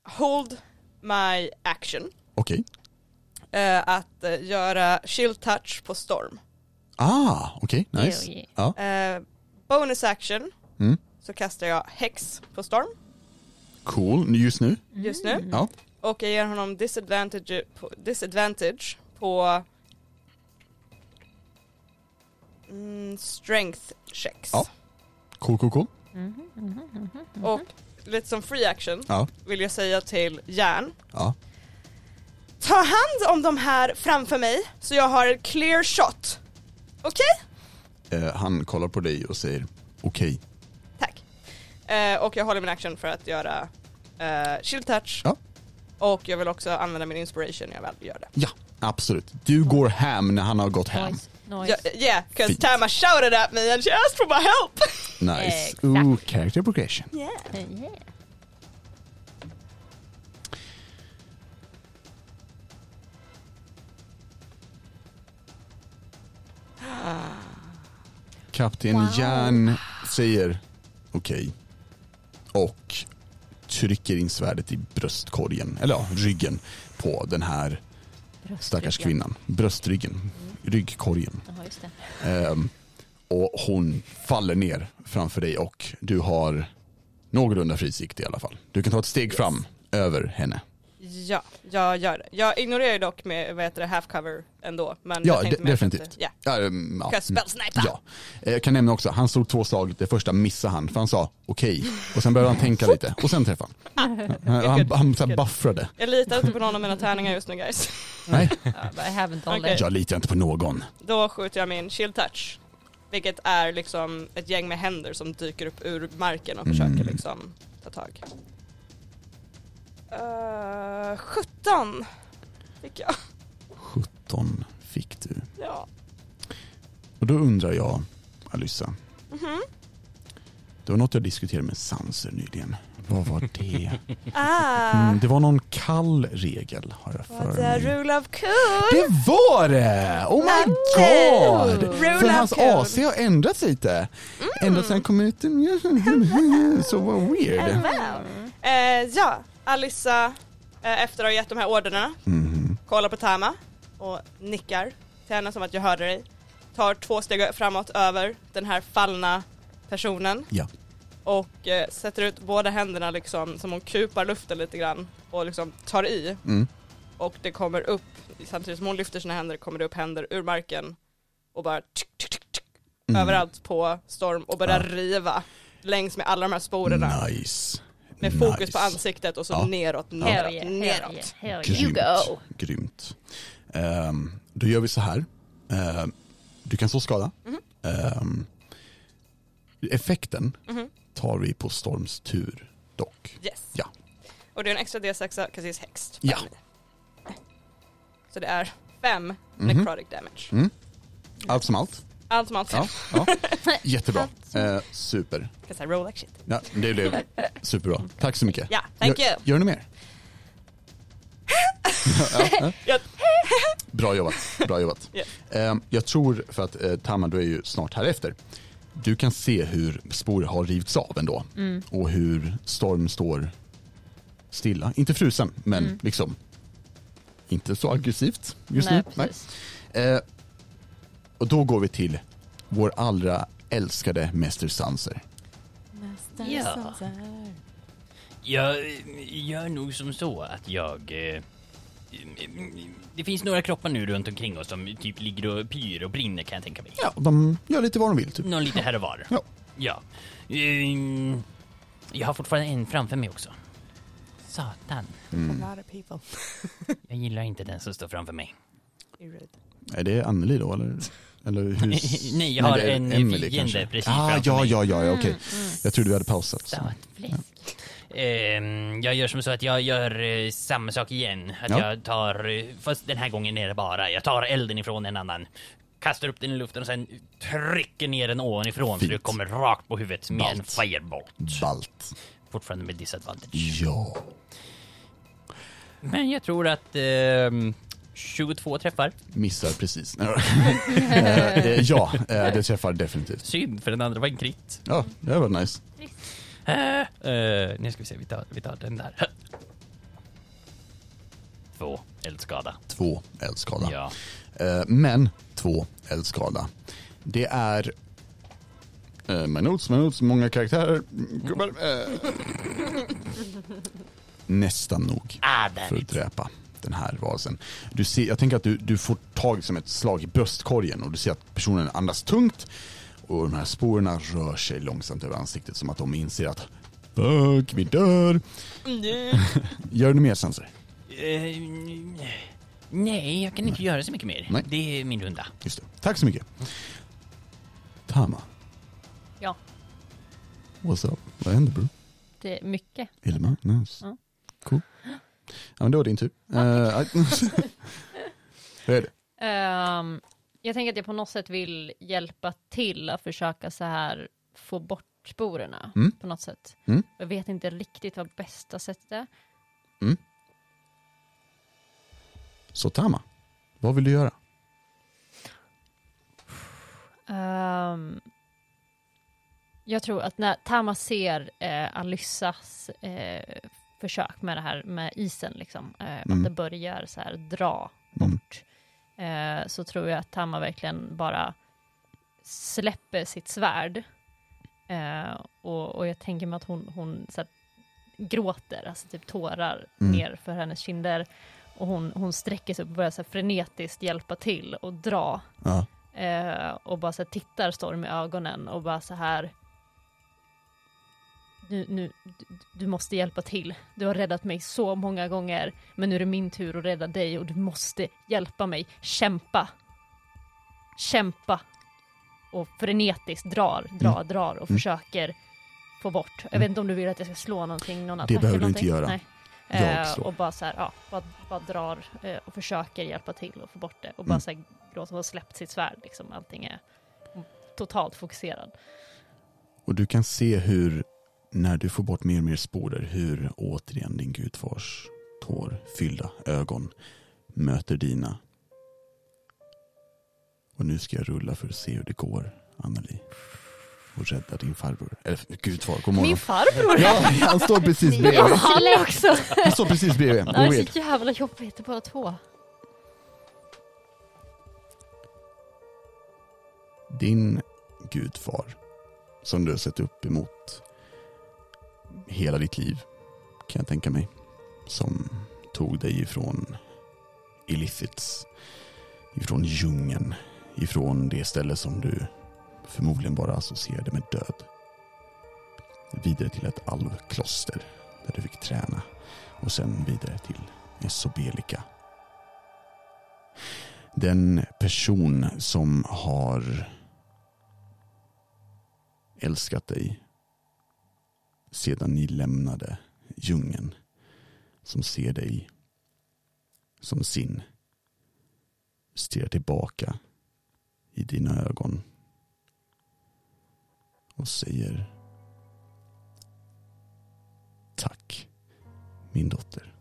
[SPEAKER 2] hold my action.
[SPEAKER 4] Okej.
[SPEAKER 2] eh, att eh, göra shield touch på storm.
[SPEAKER 4] Ah, okej, nice.
[SPEAKER 5] Hell yeah.
[SPEAKER 4] Ja.
[SPEAKER 2] Eh, bonus action
[SPEAKER 4] Mm.
[SPEAKER 2] så kastar jag hex på storm
[SPEAKER 4] Cool, just nu.
[SPEAKER 2] just nu.
[SPEAKER 4] Ja.
[SPEAKER 2] Och jag ger honom disadvantage på, disadvantage på mm, strength checks.
[SPEAKER 4] Ja. Cool, cool, cool.
[SPEAKER 2] Och lite som free action
[SPEAKER 4] Ja.
[SPEAKER 2] vill jag säga till järn.
[SPEAKER 4] Ja.
[SPEAKER 2] Ta hand om de här framför mig så jag har ett clear shot. Okej?
[SPEAKER 4] Eh, han kollar på dig och säger okej.
[SPEAKER 2] Tack. Eh, och jag håller min action för att göra eh, shield touch.
[SPEAKER 4] Ja.
[SPEAKER 2] Och jag vill också använda min inspiration när jag väl gör det.
[SPEAKER 4] Ja, Absolut. Du går hem när han har gått hem.
[SPEAKER 5] Noise. Noise.
[SPEAKER 2] Ja, yeah, because
[SPEAKER 4] Fint.
[SPEAKER 2] Tama shouted at me and she asked for my help.
[SPEAKER 4] Nice.
[SPEAKER 5] Exakt.
[SPEAKER 4] Ooh, character progression.
[SPEAKER 5] Eh, yeah.
[SPEAKER 4] Kapten Jan säger okej. Och trycker in svärdet i bröstkorgen, eller ja, ryggen på den här stackars
[SPEAKER 5] Bröstryggen.
[SPEAKER 4] kvinnan. Bröstryggen, ryggkorgen.
[SPEAKER 5] Jaha, just det.
[SPEAKER 4] Ehm, och hon faller ner framför dig och du har någorlunda frisikt i alla fall. Du kan ta ett steg fram över henne.
[SPEAKER 2] ja, jag gör det. Jag ignorerar ju dock med vad heter det, half cover ändå. Men
[SPEAKER 4] Ja,
[SPEAKER 2] jag tänkte
[SPEAKER 4] de-
[SPEAKER 2] mer för att-
[SPEAKER 4] definitivt.
[SPEAKER 2] Ja,
[SPEAKER 4] Ehm, ja.
[SPEAKER 2] because spellsniper.
[SPEAKER 4] Ja. Eh, Jag kan nämna också, han slog två slag, det första missade han för han sa okej och sen började han tänka lite och sen träffade han. Ja, Han, han så här buffrade.
[SPEAKER 2] Jag litar inte på någon av mina tärningar just nu guys.
[SPEAKER 4] Nej,
[SPEAKER 5] Ja, but I haven't all
[SPEAKER 2] Okej.
[SPEAKER 5] that.
[SPEAKER 4] jag litar inte på någon.
[SPEAKER 2] Då skjuter jag min shield touch. Vilket är liksom ett gäng med händer som dyker upp ur marken och försöker
[SPEAKER 4] Mm.
[SPEAKER 2] liksom ta tag. Uh, 17 fick jag.
[SPEAKER 4] 17 fick du.
[SPEAKER 2] Ja.
[SPEAKER 4] Och då undrar jag, Alyssa, Mm-hmm.
[SPEAKER 2] Mhm.
[SPEAKER 4] det var något jag diskuterade med Sanser nyligen. Vad var det?
[SPEAKER 2] Ah,
[SPEAKER 4] Mm, det var någon kall regel har jag
[SPEAKER 2] what's
[SPEAKER 4] för
[SPEAKER 2] the
[SPEAKER 4] mig.
[SPEAKER 2] rule of cool?
[SPEAKER 4] Mm. Det var det! Oh my god!
[SPEAKER 2] Rule
[SPEAKER 4] För
[SPEAKER 2] of
[SPEAKER 4] hans
[SPEAKER 2] cool.
[SPEAKER 4] AC har ändrats lite.
[SPEAKER 2] Mm.
[SPEAKER 4] Ända sedan han kom ut. Så vad weird.
[SPEAKER 2] Wow. Eh, ja, Alissa eh, efter att ha gett de här orderna
[SPEAKER 4] Mhm.
[SPEAKER 2] kollar på Tama och nickar till henne som att jag hörde dig. Tar två steg framåt över den här fallna personen
[SPEAKER 4] Ja.
[SPEAKER 2] och eh, sätter ut båda händerna liksom som hon kupar luften lite grann och liksom tar i
[SPEAKER 4] Mm.
[SPEAKER 2] och det kommer upp samtidigt som hon lyfter sina händer kommer det upp händer ur marken och bara tsk, tsk, tsk, tsk,
[SPEAKER 4] Mm.
[SPEAKER 2] överallt på storm och börjar
[SPEAKER 4] Ja. Mm,
[SPEAKER 2] riva längs med alla de här sporerna
[SPEAKER 4] Nice.
[SPEAKER 2] med fokus
[SPEAKER 4] nice.
[SPEAKER 2] på ansiktet och så
[SPEAKER 4] Ja.
[SPEAKER 2] neråt, neråt,
[SPEAKER 5] Hell yeah, hell yeah,
[SPEAKER 2] neråt.
[SPEAKER 5] hell yeah.
[SPEAKER 4] Grymt.
[SPEAKER 1] go.
[SPEAKER 4] Grymt. Ehm, då gör vi så här. Ehm, du kan slå skada.
[SPEAKER 2] Mhm.
[SPEAKER 4] Ehm, effekten
[SPEAKER 2] Mhm.
[SPEAKER 4] tar vi på Storms tur dock.
[SPEAKER 2] Yes.
[SPEAKER 4] Ja.
[SPEAKER 2] Och det är en extra D6 Cassis Hext.
[SPEAKER 4] Ja.
[SPEAKER 2] Så det är fem
[SPEAKER 4] Mhm.
[SPEAKER 2] necrotic damage.
[SPEAKER 4] Allt som allt.
[SPEAKER 2] Allt som allt fem.
[SPEAKER 4] Ja, ja. Jättebra. Ehm, super.
[SPEAKER 2] Cause I roll like shit.
[SPEAKER 4] Ja, det blev superbra. Tack så mycket.
[SPEAKER 2] Ja, thank
[SPEAKER 4] gör,
[SPEAKER 2] you.
[SPEAKER 4] Gör du mer? ja, ja.
[SPEAKER 2] Ja.
[SPEAKER 4] Bra jobbat. Bra jobbat.
[SPEAKER 2] Ja.
[SPEAKER 4] Ehm, Jag tror, för att eh, Tamma du är ju snart här efter. Du kan se hur spår har rivits av ändå. Och hur Storm står stilla. Inte frusen, men
[SPEAKER 5] Mm.
[SPEAKER 4] liksom inte så aggressivt just
[SPEAKER 5] Nej,
[SPEAKER 4] nu. Nej.
[SPEAKER 5] precis.
[SPEAKER 4] Eh, och då går vi till vår allra älskade Mäster Sanser.
[SPEAKER 8] Ja. Jag eh, gör nog som så att jag... eh, mm, Det finns några kroppar nu runt omkring oss som typ ligger och pyr och brinner kan jag tänka mig.
[SPEAKER 4] Ja, de gör lite vad de vill typ.
[SPEAKER 8] Någon lite här och var.
[SPEAKER 4] Ja.
[SPEAKER 8] Ja. Mm, Jag har fortfarande en framför mig också. Satan.
[SPEAKER 4] Mm.
[SPEAKER 2] A lot of people.
[SPEAKER 8] Jag gillar inte den som står framför mig.
[SPEAKER 2] You're rude.
[SPEAKER 4] Är det Anneli då eller? eller hur?
[SPEAKER 8] Nej, jag har
[SPEAKER 4] det är
[SPEAKER 8] en
[SPEAKER 4] Emily
[SPEAKER 8] fiende
[SPEAKER 4] kanske.
[SPEAKER 8] precis
[SPEAKER 4] ah,
[SPEAKER 8] framför
[SPEAKER 4] ja,
[SPEAKER 8] mig.
[SPEAKER 4] ja, ja, ja, okej. Jag trodde vi hade pausat. Så.
[SPEAKER 8] Ja, Ehm, jag gör som så att jag gör eh, samma sak igen. Att
[SPEAKER 4] Ja.
[SPEAKER 8] jag tar, eh, fast den här gången är det bara, jag tar elden ifrån en annan. Kastar upp den i luften och sen trycker ner den ovanifrån
[SPEAKER 4] Fint.
[SPEAKER 8] så det kommer rakt på huvudet med en
[SPEAKER 4] Ballt.
[SPEAKER 8] firebolt.
[SPEAKER 4] Balt.
[SPEAKER 8] Fortfarande med disadvantage.
[SPEAKER 4] Ja. Mm.
[SPEAKER 8] Men jag tror att ehm, 22 träffar.
[SPEAKER 4] Missar precis. Eh, eh, ja, eh, det träffar definitivt.
[SPEAKER 8] Synd, för den andra var en krit.
[SPEAKER 4] Ja, det var nice.
[SPEAKER 8] Eh, nu ska vi se, vi tar, vi tar den där. Två eldskada.
[SPEAKER 4] Två eldskada.
[SPEAKER 8] Ja.
[SPEAKER 4] Eh, men två eldskada. Det är... Eh, my notes, my notes, många karaktärer. Gubbar. Eh. Nästan nog.
[SPEAKER 8] Ah, där.
[SPEAKER 4] för att dräpa den här varelsen. Du ser, jag tänker att du, du får tag som ett slag i bröstkorgen och du ser att personen andas tungt och de här sporerna rör sig långsamt över ansiktet som att de inser att Fuck, vi dör! Gör du mer senser?
[SPEAKER 8] Eh, nej, jag kan inte göra så mycket mer.
[SPEAKER 4] Nej.
[SPEAKER 8] Det är min runda.
[SPEAKER 4] Just det. Tack så mycket. Tama,
[SPEAKER 5] Ja,
[SPEAKER 4] what's up? Vad händer bro?
[SPEAKER 5] det är mycket.
[SPEAKER 4] Ilma? Nice.
[SPEAKER 5] Ja.
[SPEAKER 4] Cool. Ja men då var din tur. Eh, Hur är det?
[SPEAKER 5] Ehm, jag tänker att jag på något sätt vill hjälpa till att försöka så här få bort sporerna
[SPEAKER 4] Mm.
[SPEAKER 5] på något sätt.
[SPEAKER 4] Mm.
[SPEAKER 5] Jag vet inte riktigt vad bästa sättet är.
[SPEAKER 4] Så Tama, vad vill du göra?
[SPEAKER 5] Ehm, jag tror att när Tama ser eh, Alyssas eh, försök med det här med isen, liksom, eh,
[SPEAKER 4] Mm.
[SPEAKER 5] att det börjar så här dra
[SPEAKER 4] Mm.
[SPEAKER 5] bort, eh, så tror jag att Tama verkligen bara släpper sitt svärd. Eh, och, och jag tänker mig att hon, hon så här, gråter, alltså typ tårar
[SPEAKER 4] Mm.
[SPEAKER 5] ner för hennes kinder. Och hon, hon sträcker sig upp och börjar så här, frenetiskt hjälpa till och dra.
[SPEAKER 4] Ja.
[SPEAKER 5] Eh, och bara så här tittar Storm i ögonen och bara så här. Nu, nu, du, du måste hjälpa till. Du har räddat mig så många gånger, men nu är det min tur att rädda dig och du måste hjälpa mig. Kämpa! Kämpa! Och frenetiskt drar, drar, drar och
[SPEAKER 4] Mm.
[SPEAKER 5] försöker få bort. Jag
[SPEAKER 4] Mm.
[SPEAKER 5] vet inte om du vill att jag ska slå någonting, någon attack
[SPEAKER 4] behöver
[SPEAKER 5] eller
[SPEAKER 4] du inte
[SPEAKER 5] någonting?
[SPEAKER 4] göra.
[SPEAKER 5] Nej.
[SPEAKER 4] Jag
[SPEAKER 5] Eh,
[SPEAKER 4] slår.
[SPEAKER 5] och bara så här, ja, bara, bara drar eh, och försöker hjälpa till och få bort det. Och bara
[SPEAKER 4] Mm.
[SPEAKER 5] så här gråter och släppt sitt svärd liksom. Allting är totalt fokuserad.
[SPEAKER 4] Och du kan se hur, när du får bort mer och mer sporer, hur återigen din gudfars tårfyllda ögon möter dina. Och nu ska jag rulla för att se hur det går, Anneli. Och rädda din farbror. Eller gudfar, god morgon.
[SPEAKER 5] Min farbror!
[SPEAKER 4] Ja, han står precis
[SPEAKER 5] Men
[SPEAKER 4] bredvid.
[SPEAKER 5] han också!
[SPEAKER 4] Han står precis bredvid.
[SPEAKER 5] Det här är
[SPEAKER 4] Weird.
[SPEAKER 5] så jävla jobbigt, det är bara två.
[SPEAKER 4] Din gudfar, som du har sett upp emot hela ditt liv, kan jag tänka mig, som tog dig ifrån Illithits, ifrån djungeln, ifrån det ställe som du förmodligen bara associerade med död. Vidare till ett alvkloster där du fick träna och sen vidare till Esobelika. Den person som har älskat dig sedan ni lämnade djungeln. Som ser dig som sin. Stirrar tillbaka i dina ögon. Och säger Tack min dotter.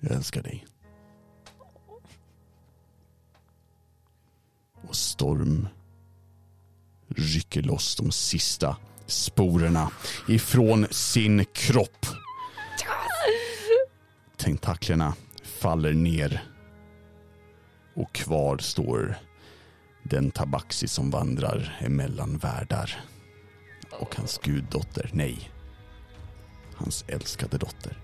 [SPEAKER 4] Jag älskar dig. Och storm rycker loss de sista sporerna ifrån sin kropp. Tentaklerna faller ner och kvar står den tabaxi som vandrar emellan världar och hans guddotter, nej, hans älskade dotter.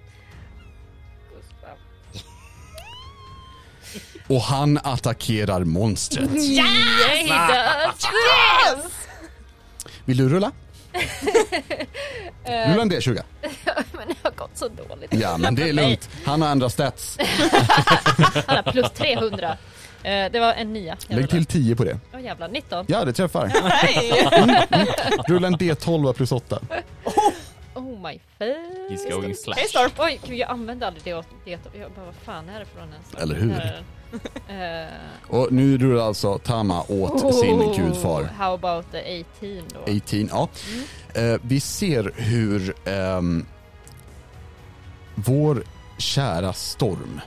[SPEAKER 4] Och han attackerar monstret.
[SPEAKER 5] Yes!
[SPEAKER 4] Ah. Vill du rulla? Rulla en D20.
[SPEAKER 5] men det har gått så dåligt.
[SPEAKER 4] Ja, men det är lugnt. Han har andra stats.
[SPEAKER 5] Han har plus 300. Eh, det var en nia. Jag
[SPEAKER 4] Lägg till 10 på det.
[SPEAKER 5] rullar. Åh jävlar, 19.
[SPEAKER 4] Ja, det träffar.
[SPEAKER 2] Nej!
[SPEAKER 4] Rulla en D12 plus 8.
[SPEAKER 5] Oh my face.
[SPEAKER 6] He's going slash.
[SPEAKER 5] Hej Storm! Oj, gud jag använde aldrig det åt det. Jag bara, vad fan är det från ens?
[SPEAKER 4] Eller hur?
[SPEAKER 5] Där är den. Eh,
[SPEAKER 4] Och nu rullar alltså Tama åt sin gudfar.
[SPEAKER 5] Oh. How about the 18 då?
[SPEAKER 4] 18, ja. Eh, vi ser hur ehm, vår kära Storm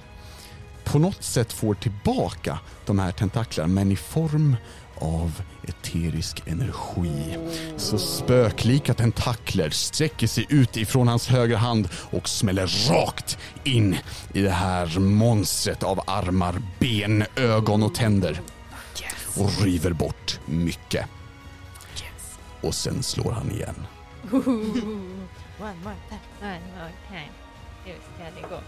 [SPEAKER 4] på något sätt får tillbaka de här tentaklarna men i form av eterisk energi. Så spöklika tentakler sträcker sig ut ifrån hans högra hand och smäller rakt in i det här monstret av armar, ben, ögon och tänder. Och river bort mycket. Och sen slår han igen.
[SPEAKER 2] One more time.
[SPEAKER 5] Nej, okej. Hur ska det gå?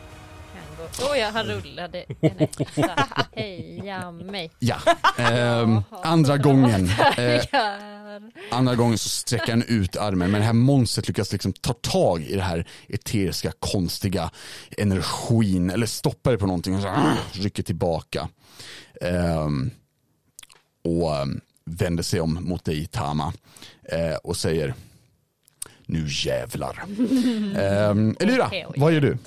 [SPEAKER 5] Kan gå. Åh ja, han rullade en etta. Heja mig.
[SPEAKER 4] Ja, ehm, andra gången. Eh,
[SPEAKER 5] Tackar.
[SPEAKER 4] andra gången så sträcker han ut armen men det här monstret lyckas liksom ta tag i det här eteriska konstiga energin eller stoppar det på någonting och så ah, rycker tillbaka. Ehm, och ehm, vänder sig om mot dig Tama eh, och säger nu jävlar. um, Elvira,
[SPEAKER 5] Okej, oj.
[SPEAKER 4] vad gör du?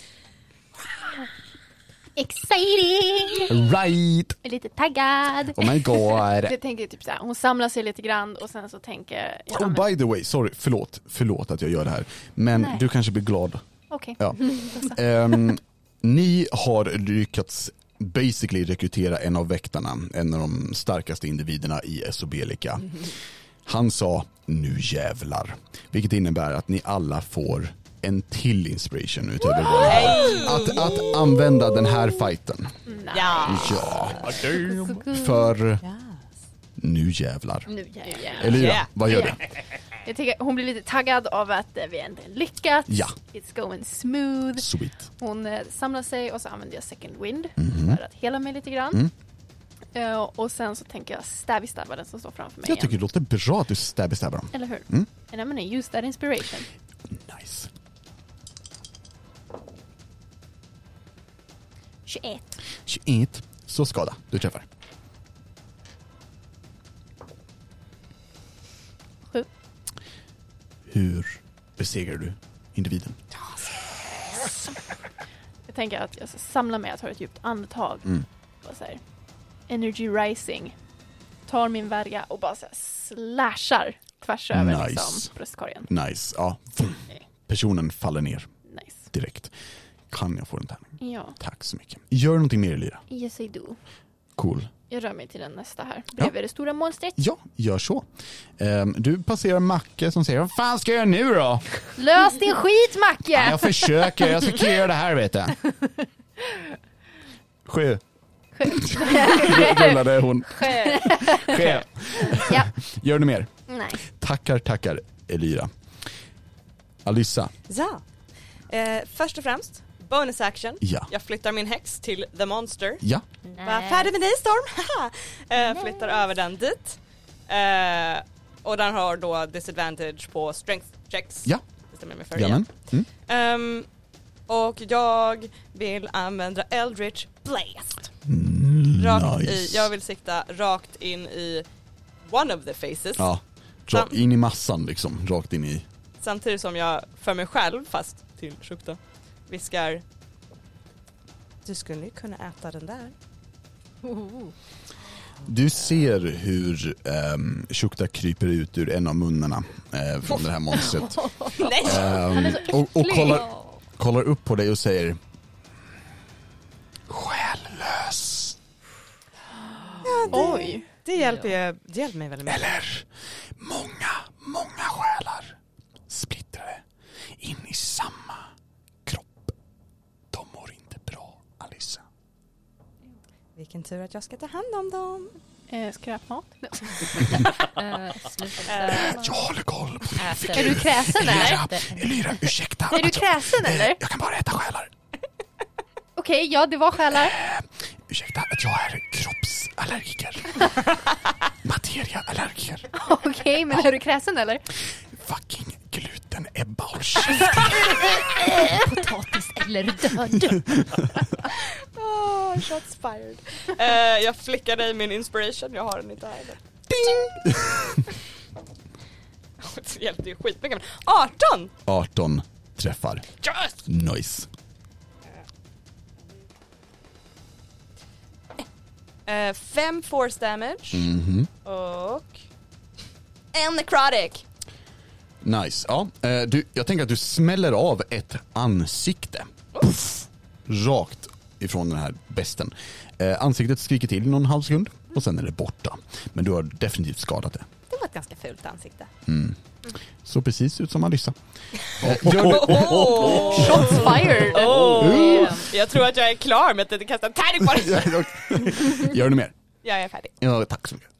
[SPEAKER 7] Exciting!
[SPEAKER 4] Right!
[SPEAKER 7] Jag är lite taggad.
[SPEAKER 4] Oh my god.
[SPEAKER 1] Jag tänker typ så här, hon samlar sig lite grann och sen så tänker jag, ja, men,
[SPEAKER 4] Oh by the way, sorry, förlåt, förlåt att jag gör det här. Men
[SPEAKER 1] Nej.
[SPEAKER 4] du kanske blir glad.
[SPEAKER 1] okej.
[SPEAKER 4] Ja. Ehm, ni har lyckats basically rekrytera en av väktarna, en av de starkaste individerna i Esobelica. Han sa nu jävlar, vilket innebär att ni alla får en till inspiration utöver vad ni har. att, att använda den här fighten.
[SPEAKER 2] Ja.
[SPEAKER 4] Ja, för nu jävlar.
[SPEAKER 1] Nu jävlar.
[SPEAKER 4] Elira,
[SPEAKER 2] Yeah.
[SPEAKER 4] vad gör du?
[SPEAKER 1] Jag tänker, hon blir lite taggad av att eh, vi äntligen lyckats.
[SPEAKER 4] Ja.
[SPEAKER 1] It's going smooth.
[SPEAKER 4] Sweet.
[SPEAKER 1] Hon eh, samlar sig och så använder jag second wind
[SPEAKER 4] Mhm.
[SPEAKER 1] för att hela mig lite grann.
[SPEAKER 4] Mm.
[SPEAKER 1] Eh, och sen så tänker jag stabby stabba den som står framför mig
[SPEAKER 4] Jag
[SPEAKER 1] igen.
[SPEAKER 4] tycker det låter bra att du stabby stabbar dem.
[SPEAKER 1] Eller hur?
[SPEAKER 4] Mm.
[SPEAKER 1] And I'm gonna use that inspiration.
[SPEAKER 4] Nice.
[SPEAKER 7] 21.
[SPEAKER 4] 21. Så skada, du träffar.
[SPEAKER 1] Sju.
[SPEAKER 4] Hur besegrar du individen?
[SPEAKER 1] Jag tänker att jag samlar mig, jag tar ett djupt andetag.
[SPEAKER 4] Mm.
[SPEAKER 1] Bara så här, energy rising. Tar min värja och bara så här slashar tvärs över
[SPEAKER 4] Nice.
[SPEAKER 1] liksom, bröstkorgen.
[SPEAKER 4] Nice, ja. Vum. Personen faller ner
[SPEAKER 1] Nice.
[SPEAKER 4] direkt. Kan jag få den tärning?
[SPEAKER 1] Ja,
[SPEAKER 4] Tack så mycket. Gör någonting mer Lyra.
[SPEAKER 1] yes I do.
[SPEAKER 4] Cool.
[SPEAKER 1] Jag rör mig till den nästa här, bredvid det stora monstret.
[SPEAKER 4] Ja, gör så. Ehm, du passerar Macke som säger Vad fan ska jag göra nu då?
[SPEAKER 1] Lös din skit
[SPEAKER 4] Ja,
[SPEAKER 1] Macke!
[SPEAKER 4] jag försöker, jag ska cleara det här vet jag. Sju. Rullade hon. Sju.
[SPEAKER 1] Ja.
[SPEAKER 4] Gör du mer?
[SPEAKER 1] Nej.
[SPEAKER 4] Tackar, tackar Elira. Alyssa,
[SPEAKER 2] ja. Eh, först och främst, bonus action.
[SPEAKER 4] ja.
[SPEAKER 2] Jag flyttar min häx till The Monster.
[SPEAKER 4] Ja,
[SPEAKER 2] Var färdig med dig Storm! Haha. eh, flyttar över den dit. Eh, och den har då disadvantage på strength checks.
[SPEAKER 4] Ja.
[SPEAKER 2] Bestämmer jag mig för igen.
[SPEAKER 4] jajamän.
[SPEAKER 2] Ehm,
[SPEAKER 4] Mm.
[SPEAKER 2] och jag vill använda Eldritch Blast. Rakt i, jag
[SPEAKER 4] Mm, Nice.
[SPEAKER 2] vill sikta rakt in i one of the faces.
[SPEAKER 4] Ja. Dra in i massan liksom, rakt in i.
[SPEAKER 2] Samtidigt som jag för mig själv, fast till Shukta, viskar Du skulle ju kunna äta den där.
[SPEAKER 4] Du ser hur um, Shukta kryper ut ur en av munnarna eh, från det här monstret.
[SPEAKER 2] Nej!
[SPEAKER 4] Ehm, och och kollar, kollar upp på dig och säger Själlös.
[SPEAKER 1] Oj.
[SPEAKER 2] Det hjälper, ju, det hjälper mig väldigt mycket.
[SPEAKER 4] Eller många, många själar splittrade in i samma kropp. De mår inte bra, Alissa.
[SPEAKER 2] Vilken tur att jag ska ta hand om dem.
[SPEAKER 1] Eh, skräpmat?
[SPEAKER 5] Eh, sluta
[SPEAKER 2] Eh,
[SPEAKER 5] stämma.
[SPEAKER 4] Jag håller koll. på-
[SPEAKER 5] Äter.
[SPEAKER 1] Är du kräsen eller?
[SPEAKER 4] Elira, ursäkta.
[SPEAKER 1] Är du
[SPEAKER 4] att jag-
[SPEAKER 1] kräsen eller?
[SPEAKER 4] eh, Jag kan bara äta själar.
[SPEAKER 1] Okej, ja det var själar.
[SPEAKER 4] Ursäkta att jag är kroppsallergiker. Materiaallergiker.
[SPEAKER 1] Okej, men är du kräsen eller?
[SPEAKER 4] Fucking gluten, Ebba, håll käften.
[SPEAKER 5] Potatis eller död?
[SPEAKER 2] Oh, shots fired. Eh, jag flickar dig min inspiration, jag har den inte här heller. Det hjälpte ju skitmycket. men 18!
[SPEAKER 4] 18 träffar.
[SPEAKER 2] Yes!
[SPEAKER 4] Nice.
[SPEAKER 2] Eh, fem force damage
[SPEAKER 4] Mhm.
[SPEAKER 2] och en necrotic.
[SPEAKER 4] Nice. Ja, eh, du, jag tänker att du smäller av ett ansikte. Puff, rakt ifrån den här besten. Eh, ansiktet skriker till någon halv sekund och sen är det borta. Men du har definitivt skadat det.
[SPEAKER 2] Det var ett ganska fult ansikte.
[SPEAKER 4] Så precis ut som Alyssa. Eh, gör,
[SPEAKER 2] Oh!
[SPEAKER 1] Shots fired!
[SPEAKER 2] Jag tror att jag är klar med att kasta en tärning på dig.
[SPEAKER 4] gör du mer?
[SPEAKER 2] Jag är färdig.
[SPEAKER 4] Ja, tack så mycket.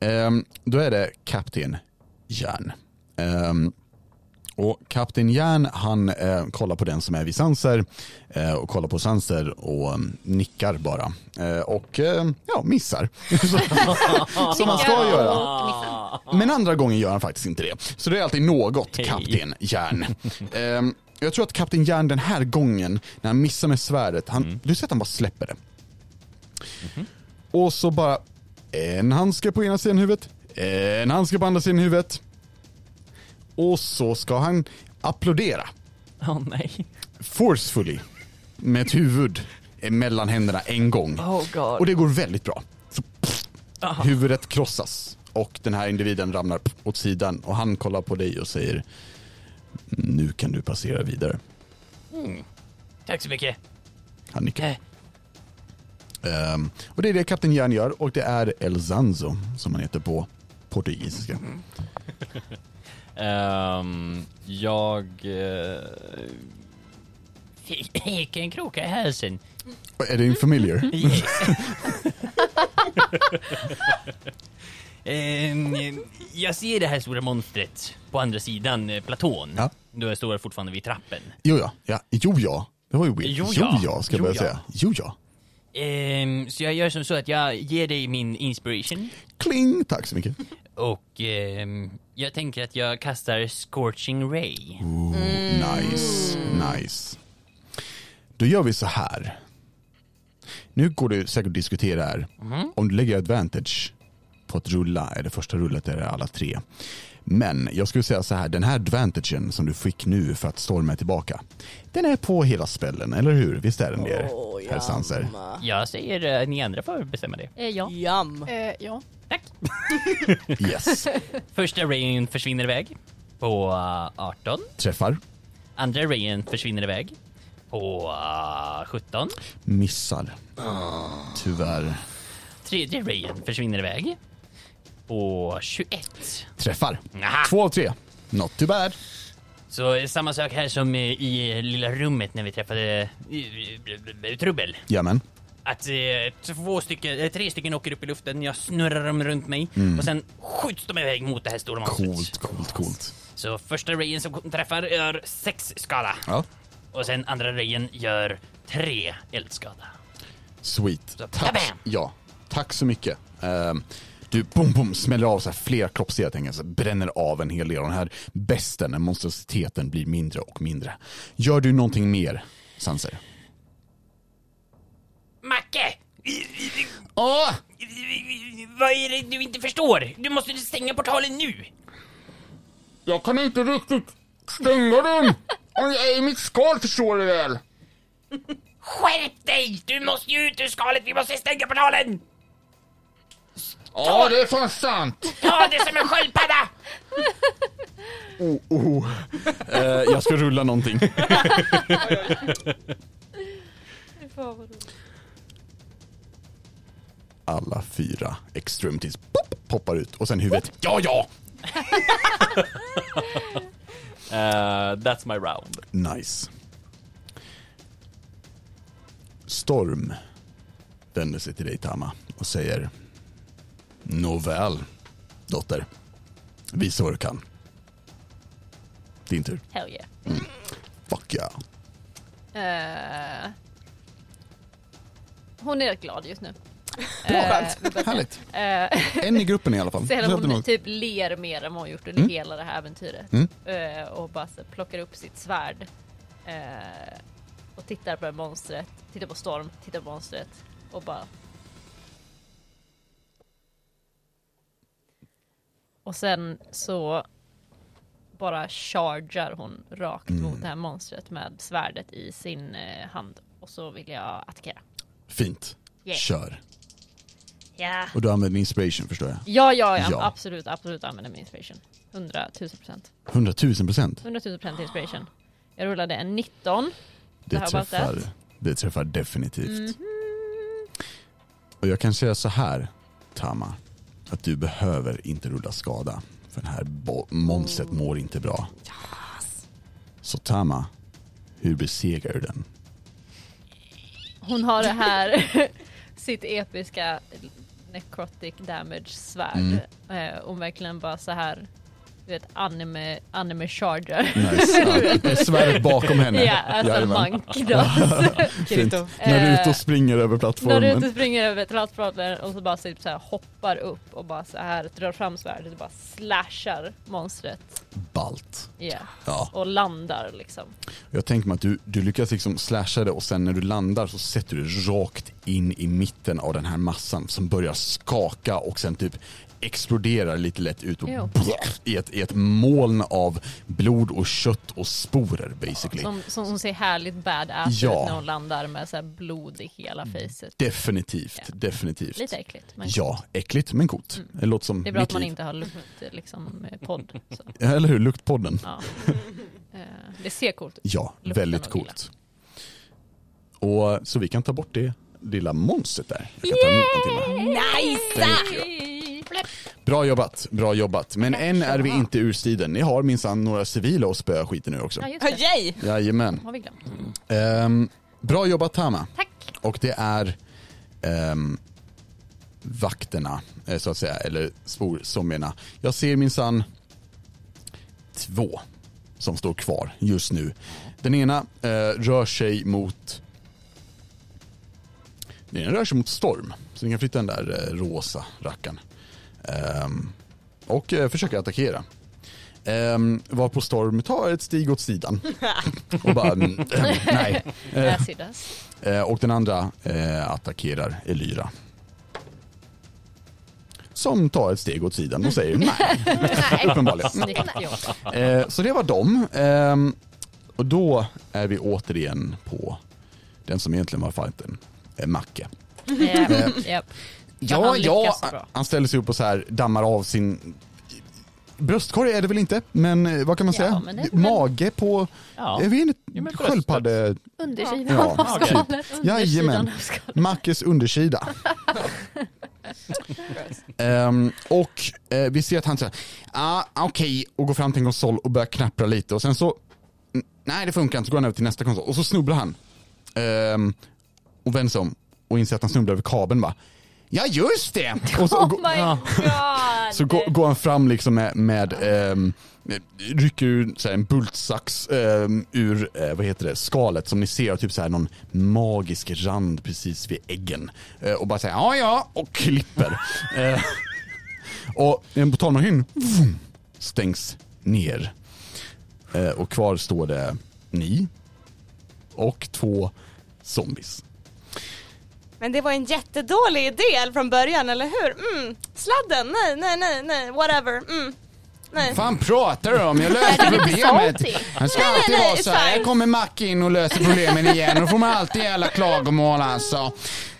[SPEAKER 4] Ehm, då är det Kapten Järn. Ehm, och Kapten Järn han eh, kollar på den som är vid Sanser eh, och kollar på Sanser och mm, nickar bara. Eh, och eh, ja, missar. Så- som man ska göra.
[SPEAKER 8] Ah.
[SPEAKER 4] Men andra gången gör han faktiskt inte det. Så det är alltid något, Kapten Järn. Ehm, jag tror att Kapten Järn den här gången, när han missar med svärdet, han, du ser att han bara släpper det. Och så bara en handske på ena sidan huvudet, en handske på andra sidan huvudet. Och så ska han applådera
[SPEAKER 8] Åh nej.
[SPEAKER 4] forcefully med ett huvud mellan händerna en gång.
[SPEAKER 2] Oh god.
[SPEAKER 4] Och det går väldigt bra. Så, pff, huvudet krossas och den här individen ramlar pff, åt sidan och han kollar på dig och säger Nu kan du passera vidare.
[SPEAKER 8] Tack så mycket.
[SPEAKER 4] Han nickar.
[SPEAKER 8] Eh,
[SPEAKER 4] Ehm, och det är det Kapten Järn gör och det är El Zanzo som han heter på portugisiska.
[SPEAKER 8] Mm.
[SPEAKER 6] Ehm, jag... eh,
[SPEAKER 8] fick- Fick en kroka i halsen.
[SPEAKER 4] Och Är det
[SPEAKER 8] Mm.
[SPEAKER 4] en familiar?
[SPEAKER 8] Ehm, jag ser det här stora monstret på andra sidan eh, platån.
[SPEAKER 4] Ja.
[SPEAKER 8] Då står jag fortfarande vid trappen.
[SPEAKER 4] Jo ja, ja, jo ja. Det var ju weird.
[SPEAKER 8] Jo,
[SPEAKER 4] jo
[SPEAKER 8] ja.
[SPEAKER 4] ja, ska jag
[SPEAKER 8] Jo,
[SPEAKER 4] börja
[SPEAKER 8] ja.
[SPEAKER 4] säga. Jo ja.
[SPEAKER 8] Ehm, så jag gör som så att jag ger dig min inspiration.
[SPEAKER 4] Kling, tack så mycket.
[SPEAKER 8] Och ehm, jag tänker att jag kastar Scorching Ray.
[SPEAKER 4] Nice, nice. Då gör vi så här. Nu går det säkert att diskutera här. Om du lägger advantage på att rulla, är det första rullet eller alla tre. Men jag skulle säga så här, den här advantagen som du fick nu för att storma är tillbaka. Den är på hela spellen, eller hur? Visst är den det?
[SPEAKER 2] Åh,
[SPEAKER 4] herr Sanser.
[SPEAKER 2] jam.
[SPEAKER 8] Jag säger eh, ni andra får bestämma det.
[SPEAKER 5] Eh, ja.
[SPEAKER 2] Jam.
[SPEAKER 1] Eh, ja.
[SPEAKER 4] Yes.
[SPEAKER 8] Första rayen försvinner iväg på eh, 18.
[SPEAKER 4] Träffar,
[SPEAKER 8] Andra rayen försvinner iväg på eh, 17.
[SPEAKER 4] missar. Tyvärr.
[SPEAKER 8] Tredje rayen försvinner iväg på 21.
[SPEAKER 4] Träffar.
[SPEAKER 8] Aha.
[SPEAKER 4] Två av tre. Not too bad.
[SPEAKER 8] Så eh, samma sak här som eh, i eh, lilla rummet när vi träffade eh, Trubbel.
[SPEAKER 4] Jamen.
[SPEAKER 8] Att eh, två stycken, eh, tre stycken åker upp i luften, jag snurrar dem runt mig och sen skjuts de iväg mot det här stora monstret.
[SPEAKER 4] Coolt, coolt, coolt.
[SPEAKER 8] Så första rayen som träffar gör sex skada
[SPEAKER 4] Ja.
[SPEAKER 8] och sen andra rayen gör tre eldskada.
[SPEAKER 4] Sweet.
[SPEAKER 8] Så,
[SPEAKER 4] Tack,
[SPEAKER 8] kabam!
[SPEAKER 4] ja, tack så mycket. Ehm, du boom, boom, smäller av så här flera kroppsdelar, tänker jag, så här, bränner av en hel del. Och den här besten, den här monstrositeten, blir mindre och mindre. Gör du någonting mer, Sanser?
[SPEAKER 8] Macke!
[SPEAKER 4] Åh!
[SPEAKER 8] Vad är det du inte förstår? Du måste stänga portalen nu!
[SPEAKER 4] Jag kan inte riktigt stänga dem! Om jag är i mitt skal förstår du väl?
[SPEAKER 8] Skärp dig! Du måste ju ut ur skalet, vi måste stänga portalen!
[SPEAKER 4] Ja, det är fan sant!
[SPEAKER 8] Ta det som en sköldpadda!
[SPEAKER 4] Oh. Eh, jag ska rulla någonting. Alla fyra extremities pop, poppar ut och sen huvudet. Ja, ja!
[SPEAKER 6] eh, that's my round.
[SPEAKER 4] Nice. Storm vänder sig till dig Tama och säger Nåväl, dotter. Visa vad du kan. Din tur.
[SPEAKER 5] Hell yeah.
[SPEAKER 4] Fuck yeah.
[SPEAKER 5] Eh, hon är rätt glad just nu.
[SPEAKER 4] Härligt.
[SPEAKER 5] Eh,
[SPEAKER 4] En i gruppen i alla fall.
[SPEAKER 5] Så hela
[SPEAKER 4] Så att det
[SPEAKER 5] hon
[SPEAKER 4] nog-
[SPEAKER 5] typ ler mer än vad hon gjort under hela det här äventyret.
[SPEAKER 4] Mm.
[SPEAKER 5] Eh, och bara så plockar upp sitt svärd. eh, och tittar på monstret. Tittar på Storm, tittar på monstret. Och bara... Och sen så bara chargar hon rakt mot det här monstret med svärdet i sin eh, hand. Och så vill jag attackera.
[SPEAKER 4] Fint.
[SPEAKER 5] Yeah.
[SPEAKER 4] Kör.
[SPEAKER 5] Ja,
[SPEAKER 4] Och du använder inspiration förstår jag.
[SPEAKER 5] ja, ja, ja.
[SPEAKER 4] Ja.
[SPEAKER 5] absolut, absolut använder min inspiration. 100 000 procent.
[SPEAKER 4] 100 000 procent.
[SPEAKER 5] 100 000 procent inspiration. Jag rullade en 19. Det
[SPEAKER 4] Det
[SPEAKER 5] har varit
[SPEAKER 4] träffar,
[SPEAKER 5] rätt.
[SPEAKER 4] det träffar definitivt.
[SPEAKER 5] Mhm.
[SPEAKER 4] Och jag kan säga så här, Tama, att du behöver inte rulla skada. För den här bo- monstret mår inte bra. Så Tama, hur besegrar du den?
[SPEAKER 5] Hon har det här, sitt episka necrotic damage svärd.
[SPEAKER 4] Mm.
[SPEAKER 5] Eh, och verkligen bara så här, du vet anime, anime charger.
[SPEAKER 4] Nice. Ja, är svärdet bakom henne.
[SPEAKER 5] Ja, alltså
[SPEAKER 4] Jajamän.
[SPEAKER 5] monk does.
[SPEAKER 4] Fint. Naruto
[SPEAKER 5] Eh,
[SPEAKER 4] springer över
[SPEAKER 5] Naruto
[SPEAKER 4] plattformen.
[SPEAKER 5] springer över transporten och så bara typ så här hoppar upp och bara så här drar fram svärdet och bara slashar monstret.
[SPEAKER 4] balt.
[SPEAKER 5] Yeah.
[SPEAKER 4] Ja.
[SPEAKER 5] Och landar liksom.
[SPEAKER 4] Jag tänker mig att du, du lyckas liksom slasha det och sen när du landar så sätter du det rakt in i mitten av den här massan som börjar skaka och sen typ exploderar lite lätt ut och
[SPEAKER 5] Jo.
[SPEAKER 4] brrr, i, ett, i ett moln av blod och kött och sporer basically.
[SPEAKER 5] Som, som hon ser härligt badass
[SPEAKER 4] Ja.
[SPEAKER 5] ut när hon landar med så här blod i hela facet.
[SPEAKER 4] Definitivt,
[SPEAKER 5] Ja.
[SPEAKER 4] definitivt.
[SPEAKER 5] Lite äckligt. Men Mm.
[SPEAKER 4] Ja, äckligt men gott. Det låter som
[SPEAKER 5] det är bra
[SPEAKER 4] mitt
[SPEAKER 5] att man
[SPEAKER 4] liv.
[SPEAKER 5] inte har lukt liksom, eh, podd. Så,
[SPEAKER 4] Eller hur, Luktpodden.
[SPEAKER 5] ja. Eh, Det ser coolt ut.
[SPEAKER 4] Ja,
[SPEAKER 5] Lukten
[SPEAKER 4] väldigt
[SPEAKER 5] och gillar.
[SPEAKER 4] coolt. Och så vi kan ta bort det lilla monstret där. Jag kan ta en annan timma. Bra jobbat, bra jobbat. Men än är vi inte ur striden. Ni har minsann några civila att spöa skiten nu också.
[SPEAKER 5] Ja, just
[SPEAKER 2] Ah,
[SPEAKER 5] det.
[SPEAKER 2] Yay!
[SPEAKER 4] Jajamän.
[SPEAKER 5] Har vi glömt.
[SPEAKER 4] Ehm, bra jobbat Tama.
[SPEAKER 5] Tack.
[SPEAKER 4] Och det är ehm, vakterna, eh, så att säga, eller spor, zombierna. Jag ser minsann två som står kvar just nu. Den ena eh, rör sig mot den ena rör sig mot storm, så ni kan flytta den där eh, rosa rackaren. Ehm, och eh, försöka attackera. Ehm, varpå Storm tar ett stig åt sidan. och bara, mm, nej. Eh,
[SPEAKER 5] As it does.
[SPEAKER 4] Eh, och den andra eh, attackerar Elyra. Som tar ett steg åt sidan och säger nej, uppenbarligen.
[SPEAKER 5] Snyggt jobb.
[SPEAKER 4] Eh, så det var dem. Ehm, och då är vi återigen på den som egentligen var fighten, eh, Macke.
[SPEAKER 5] Japp,
[SPEAKER 4] Eh.
[SPEAKER 5] japp. Men han lyckas så bra.
[SPEAKER 4] han ställer sig upp och så här dammar av sin bröstkorg är det väl inte, men eh, vad kan man
[SPEAKER 5] Ja,
[SPEAKER 4] säga?
[SPEAKER 5] men det-
[SPEAKER 4] Mage på,
[SPEAKER 6] Ja.
[SPEAKER 4] jag vet inte,
[SPEAKER 6] Jo, men bröstet.
[SPEAKER 4] sköldpadde,
[SPEAKER 1] Undersidan.
[SPEAKER 4] ja,
[SPEAKER 5] Oh
[SPEAKER 6] Mage.
[SPEAKER 4] typ.
[SPEAKER 5] Undersidan
[SPEAKER 4] Jajamän.
[SPEAKER 5] av skalet.
[SPEAKER 4] Mackes undersida. Ehm, och eh, vi ser att han säger ah, okej, och går fram till en konsol och börjar knappra lite och sen så, "N- nej det funkar inte, så går han över till nästa konsol och så snubblar han. Ehm, och vänder sig om och inser att han snubblar över kabeln va. Ja just det! Och så, och,
[SPEAKER 5] Oh My god!
[SPEAKER 4] så går, går han fram liksom med, med ehm, rycker ur så här, en bultsax ehm, ur, eh, vad heter det, skalet som ni ser har typ så här någon magisk rand precis vid äggen. Eh, och bara säger ja ja och klipper. eh, och en portalmaskin vroom, stängs ner. Eh, och kvar står det ni och två zombies.
[SPEAKER 2] Men det var en jättedålig idé från början, eller hur? Mm. Sladden, nej, nej, nej, nej, whatever. Mm. Nej.
[SPEAKER 4] fan pratar du om? Jag löste problemet. Han ska alltid
[SPEAKER 2] nej,
[SPEAKER 4] vara så här.
[SPEAKER 2] fine.
[SPEAKER 4] Här kommer Macke in och löser problemen igen. Då får man alltid jävla klagomål alltså.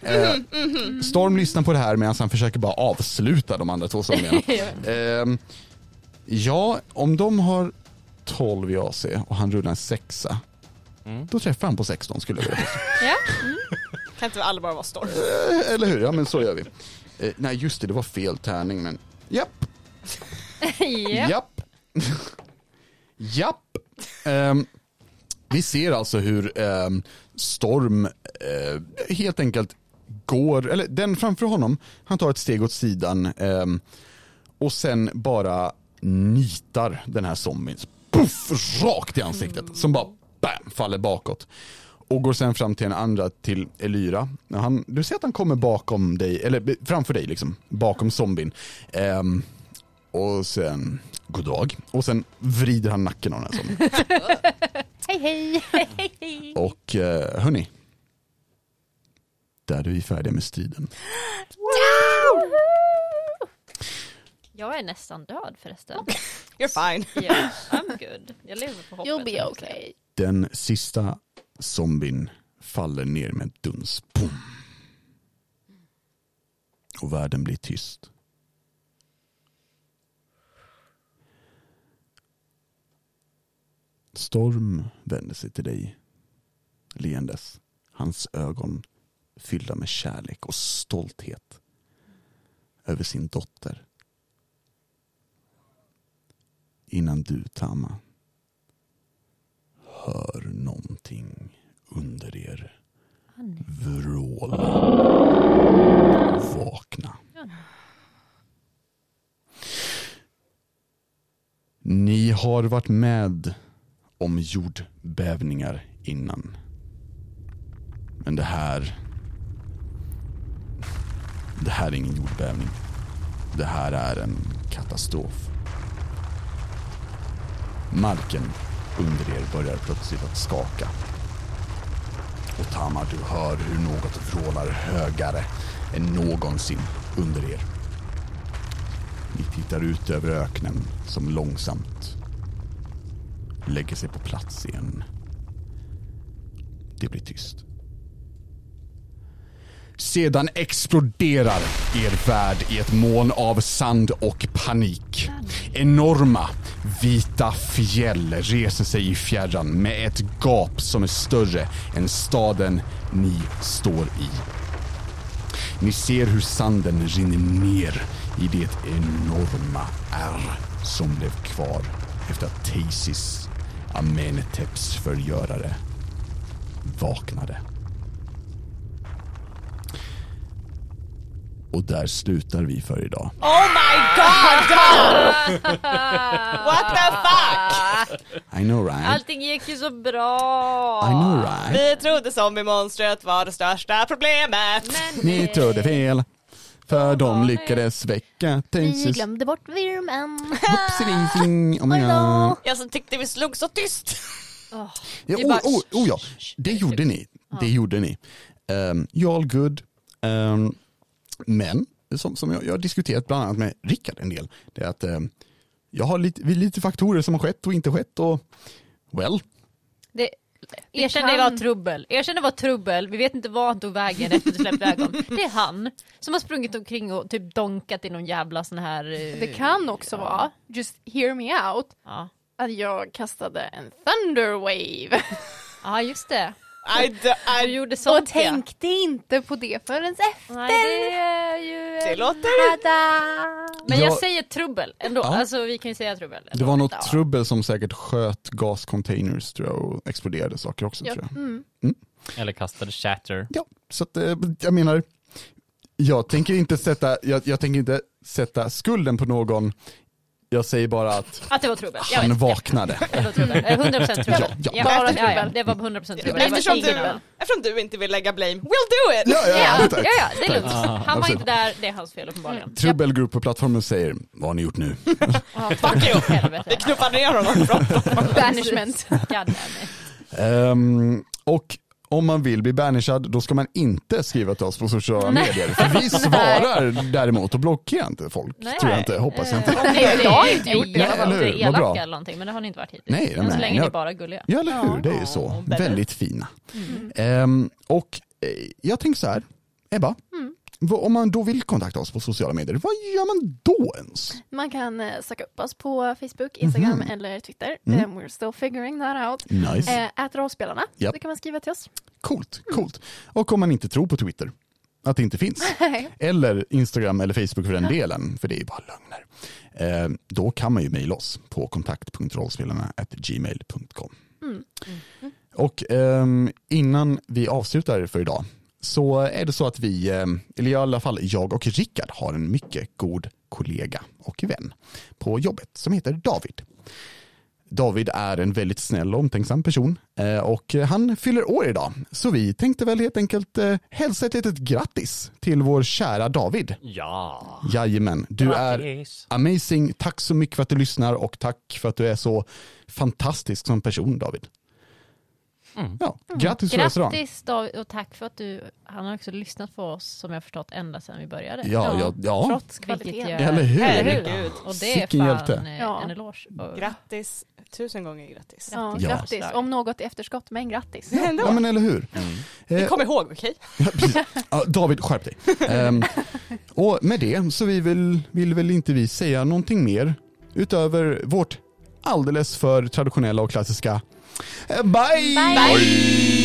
[SPEAKER 4] Eh,
[SPEAKER 2] Mm-hmm,
[SPEAKER 4] Storm lyssnar på det här medan han försöker bara avsluta de andra två sångerna. Ehm, ja, om de har 12 i AC och han rullar en sexa. Då träffar han på 16 skulle jag vilja påstå.
[SPEAKER 2] Kan inte alla bara vara storm?
[SPEAKER 4] Eh, Eller hur? Ja men så gör vi. Eh, nej just det, det var fel tärning men japp.
[SPEAKER 5] Japp.
[SPEAKER 4] Japp. Japp. Ehm, vi ser alltså hur ehm, Storm eh, helt enkelt går, eller den framför honom, han tar ett steg åt sidan ehm, och sen bara nitar den här zombien. Puff! Rakt i ansiktet. Som bara bam, faller bakåt. Och går sen fram till en andra, till Elyra. Han, du ser att han kommer bakom dig, eller framför dig liksom, bakom zombien. Ehm, och sen, god dag. Och sen vrider han nacken av den här zombien.
[SPEAKER 7] Hej hej!
[SPEAKER 4] Och eh, hörni. Där är vi färdiga med striden.
[SPEAKER 5] Jag är nästan död förresten.
[SPEAKER 2] You're fine.
[SPEAKER 5] Yeah, I'm good. Jag lever på hoppet.
[SPEAKER 1] You'll be
[SPEAKER 5] tänkte jag säga.
[SPEAKER 1] okay.
[SPEAKER 4] Den sista zombien faller ner med ett duns. Pum. Och världen blir tyst. Storm vänder sig till dig leendes. Hans ögon fyllda med kärlek och stolthet över sin dotter. Innan du, Tama, hör någonting under er vråla och vakna. Ni har varit med om jordbävningar innan. Men det här... Det här är ingen jordbävning. Det här är en katastrof. Marken under er börjar plötsligt att skaka. Och Tamar, du hör hur något vrålar högare än någonsin under er. Ni tittar ut över öknen som långsamt lägger sig på plats igen. Det blir tyst. Sedan exploderar er värld i ett moln av sand och panik. Enorma vita fjäll reser sig i fjärran med ett gap som är större än staden ni står i. Ni ser hur sanden rinner ner i det enorma ärr som blev kvar efter att Teisis, Ameneteps förgörare, vaknade. Och där slutar vi för idag.
[SPEAKER 2] Oh my god! god! What the fuck?
[SPEAKER 4] I know right?
[SPEAKER 5] Allting gick ju så bra!
[SPEAKER 4] I know right?
[SPEAKER 2] Vi trodde zombiemonstret var det största problemet.
[SPEAKER 5] Men
[SPEAKER 4] Ni
[SPEAKER 5] det-
[SPEAKER 4] trodde fel. För de lyckades väcka
[SPEAKER 7] Vi
[SPEAKER 4] Teisis.
[SPEAKER 7] glömde bort vurmen.
[SPEAKER 4] Hoppsiving, om jag...
[SPEAKER 2] Jag som tyckte vi slog så tyst.
[SPEAKER 5] Åh,
[SPEAKER 4] Ja,
[SPEAKER 5] Det är
[SPEAKER 4] oh,
[SPEAKER 5] bara-
[SPEAKER 4] oh, oh, ja, det gjorde ni. Det gjorde ni. Um, you're all good. Ehm, men, som, som jag, jag har diskuterat bland annat med Rickard en del, det är att ehm, jag har lite, vi- lite faktorer som har skett och inte skett och well,
[SPEAKER 5] det, erkänn det
[SPEAKER 1] kan-
[SPEAKER 5] var trubbel. Erkänn det var trubbel. Vi vet inte var han tog vägen efter att du släppte iväg honom. Det är han som har sprungit omkring och typ donkat i någon jävla sån här... eh,
[SPEAKER 1] Det kan också vara, just hear me out,
[SPEAKER 5] Ja,
[SPEAKER 1] att jag kastade en thunderwave.
[SPEAKER 5] ja just det.
[SPEAKER 2] I, d-
[SPEAKER 5] Du
[SPEAKER 2] I,
[SPEAKER 5] gjorde sånt
[SPEAKER 1] Och tänkte inte på det förrän efter.
[SPEAKER 5] ja. Nej, det är ju... eh,
[SPEAKER 2] det låter...
[SPEAKER 5] Men jag
[SPEAKER 4] Jag-
[SPEAKER 5] säger trubbel ändå.
[SPEAKER 4] Ja.
[SPEAKER 5] Alltså vi kan ju säga trubbel.
[SPEAKER 4] det var något trubbel som säkert sköt gascontainers tror jag och exploderade saker också
[SPEAKER 1] Ja,
[SPEAKER 4] tror jag.
[SPEAKER 1] mm.
[SPEAKER 6] Eller kastade shatter.
[SPEAKER 4] Ja, så att, eh, jag menar, jag tänker inte sätta, jag, jag tänker inte sätta skulden på någon, jag säger bara att
[SPEAKER 5] Att det var trubbel. Jag
[SPEAKER 4] han
[SPEAKER 5] vet.
[SPEAKER 4] vaknade.
[SPEAKER 5] Ja, det var trubbel. Eh, 100% trubbel.
[SPEAKER 4] Ja, ja.
[SPEAKER 5] bara
[SPEAKER 2] Bara
[SPEAKER 5] trubbel. Ja, ja. Det var 100% trubbel. Det var
[SPEAKER 2] Eftersom
[SPEAKER 5] ingen
[SPEAKER 2] du,
[SPEAKER 5] annan.
[SPEAKER 2] eftersom du inte vill lägga blame, we'll do it!
[SPEAKER 4] Ja, ja,
[SPEAKER 5] Ja,
[SPEAKER 4] tack.
[SPEAKER 5] ja, ja, det är lugnt.
[SPEAKER 4] Tack.
[SPEAKER 5] Han var
[SPEAKER 4] absolut.
[SPEAKER 5] inte där, det är hans fel uppenbarligen.
[SPEAKER 4] Trubbel går upp på plattformen och säger, vad har ni gjort nu?
[SPEAKER 2] Fuck you! Vi
[SPEAKER 5] Helvete.
[SPEAKER 2] knuffar ner honom från
[SPEAKER 1] Banishment.
[SPEAKER 5] God damn it.
[SPEAKER 4] Ehm, och om man vill bli banishad, då ska man inte skriva till oss på sociala medier. För vi svarar däremot och blockerar inte folk,
[SPEAKER 5] Nej.
[SPEAKER 4] tror jag inte, hoppas jag inte.
[SPEAKER 5] Eh, Nej, jag har inte gjort det. Jag
[SPEAKER 4] Eller hur?
[SPEAKER 5] är
[SPEAKER 4] Vad
[SPEAKER 5] inte
[SPEAKER 4] bra.
[SPEAKER 5] elaka eller någonting, men det har ni inte varit hittills.
[SPEAKER 4] Nej,
[SPEAKER 5] Än så
[SPEAKER 4] nej,
[SPEAKER 5] länge
[SPEAKER 4] nej.
[SPEAKER 5] är ni bara gulliga.
[SPEAKER 4] Ja, eller hur, det är ju
[SPEAKER 2] Ja.
[SPEAKER 4] så. Väldigt fina. Ehm, och eh, jag tänker så här, Ebba, vad- om man då vill kontakta oss på sociala medier, vad gör man då ens?
[SPEAKER 1] Man kan eh, söka upp oss på Facebook, Instagram eller Twitter. Eh, we're still figuring that out.
[SPEAKER 4] Nice. Mm.
[SPEAKER 1] Eh, ät rollspelarna,
[SPEAKER 4] Japp.
[SPEAKER 1] det kan man skriva till oss.
[SPEAKER 4] Coolt, coolt. Och om man inte tror på Twitter, att det inte finns, eller Instagram eller Facebook för den delen, för det är ju bara lögner, eh, då kan man ju mejla oss på kontakt.rollspelarna.gmail.com. Och ehm, innan vi avslutar för idag så är det så att vi, ehm, eller i alla fall jag och Rickard har en mycket god kollega och vän på jobbet som heter David. David är en väldigt snäll och omtänksam person eh, och han fyller år idag. Så vi tänkte väl helt enkelt eh, hälsa ett litet grattis till vår kära David.
[SPEAKER 6] Ja.
[SPEAKER 4] Jajamän, du är
[SPEAKER 8] Grattis.
[SPEAKER 4] amazing. Tack så mycket för att du lyssnar och tack för att du är så fantastisk som person David. Ja, Mm. grattis födelsedagen.
[SPEAKER 5] Grattis David och tack för att du, han har också lyssnat på oss som jag förstått ända sedan vi började.
[SPEAKER 4] Ja, ja, ja.
[SPEAKER 5] Trots kvaliteten.
[SPEAKER 1] kvaliteten.
[SPEAKER 4] Eller hur?
[SPEAKER 2] Herregud.
[SPEAKER 5] Och det är
[SPEAKER 4] Sicken
[SPEAKER 5] fan
[SPEAKER 4] hjälte.
[SPEAKER 5] eh,
[SPEAKER 1] Ja.
[SPEAKER 5] en eloge. Och-
[SPEAKER 2] Grattis, tusen gånger grattis.
[SPEAKER 1] Ja,
[SPEAKER 4] Ja.
[SPEAKER 1] grattis, om något i efterskott, men grattis.
[SPEAKER 4] Ja men eller hur.
[SPEAKER 2] Vi
[SPEAKER 4] Eh,
[SPEAKER 2] kommer ihåg, okej?
[SPEAKER 4] Ja, precis. Ja, David, skärp dig. Ehm, och med det så vi vill, vill väl inte vi säga någonting mer utöver vårt alldeles för traditionella och klassiska eh, bye!
[SPEAKER 7] Bye.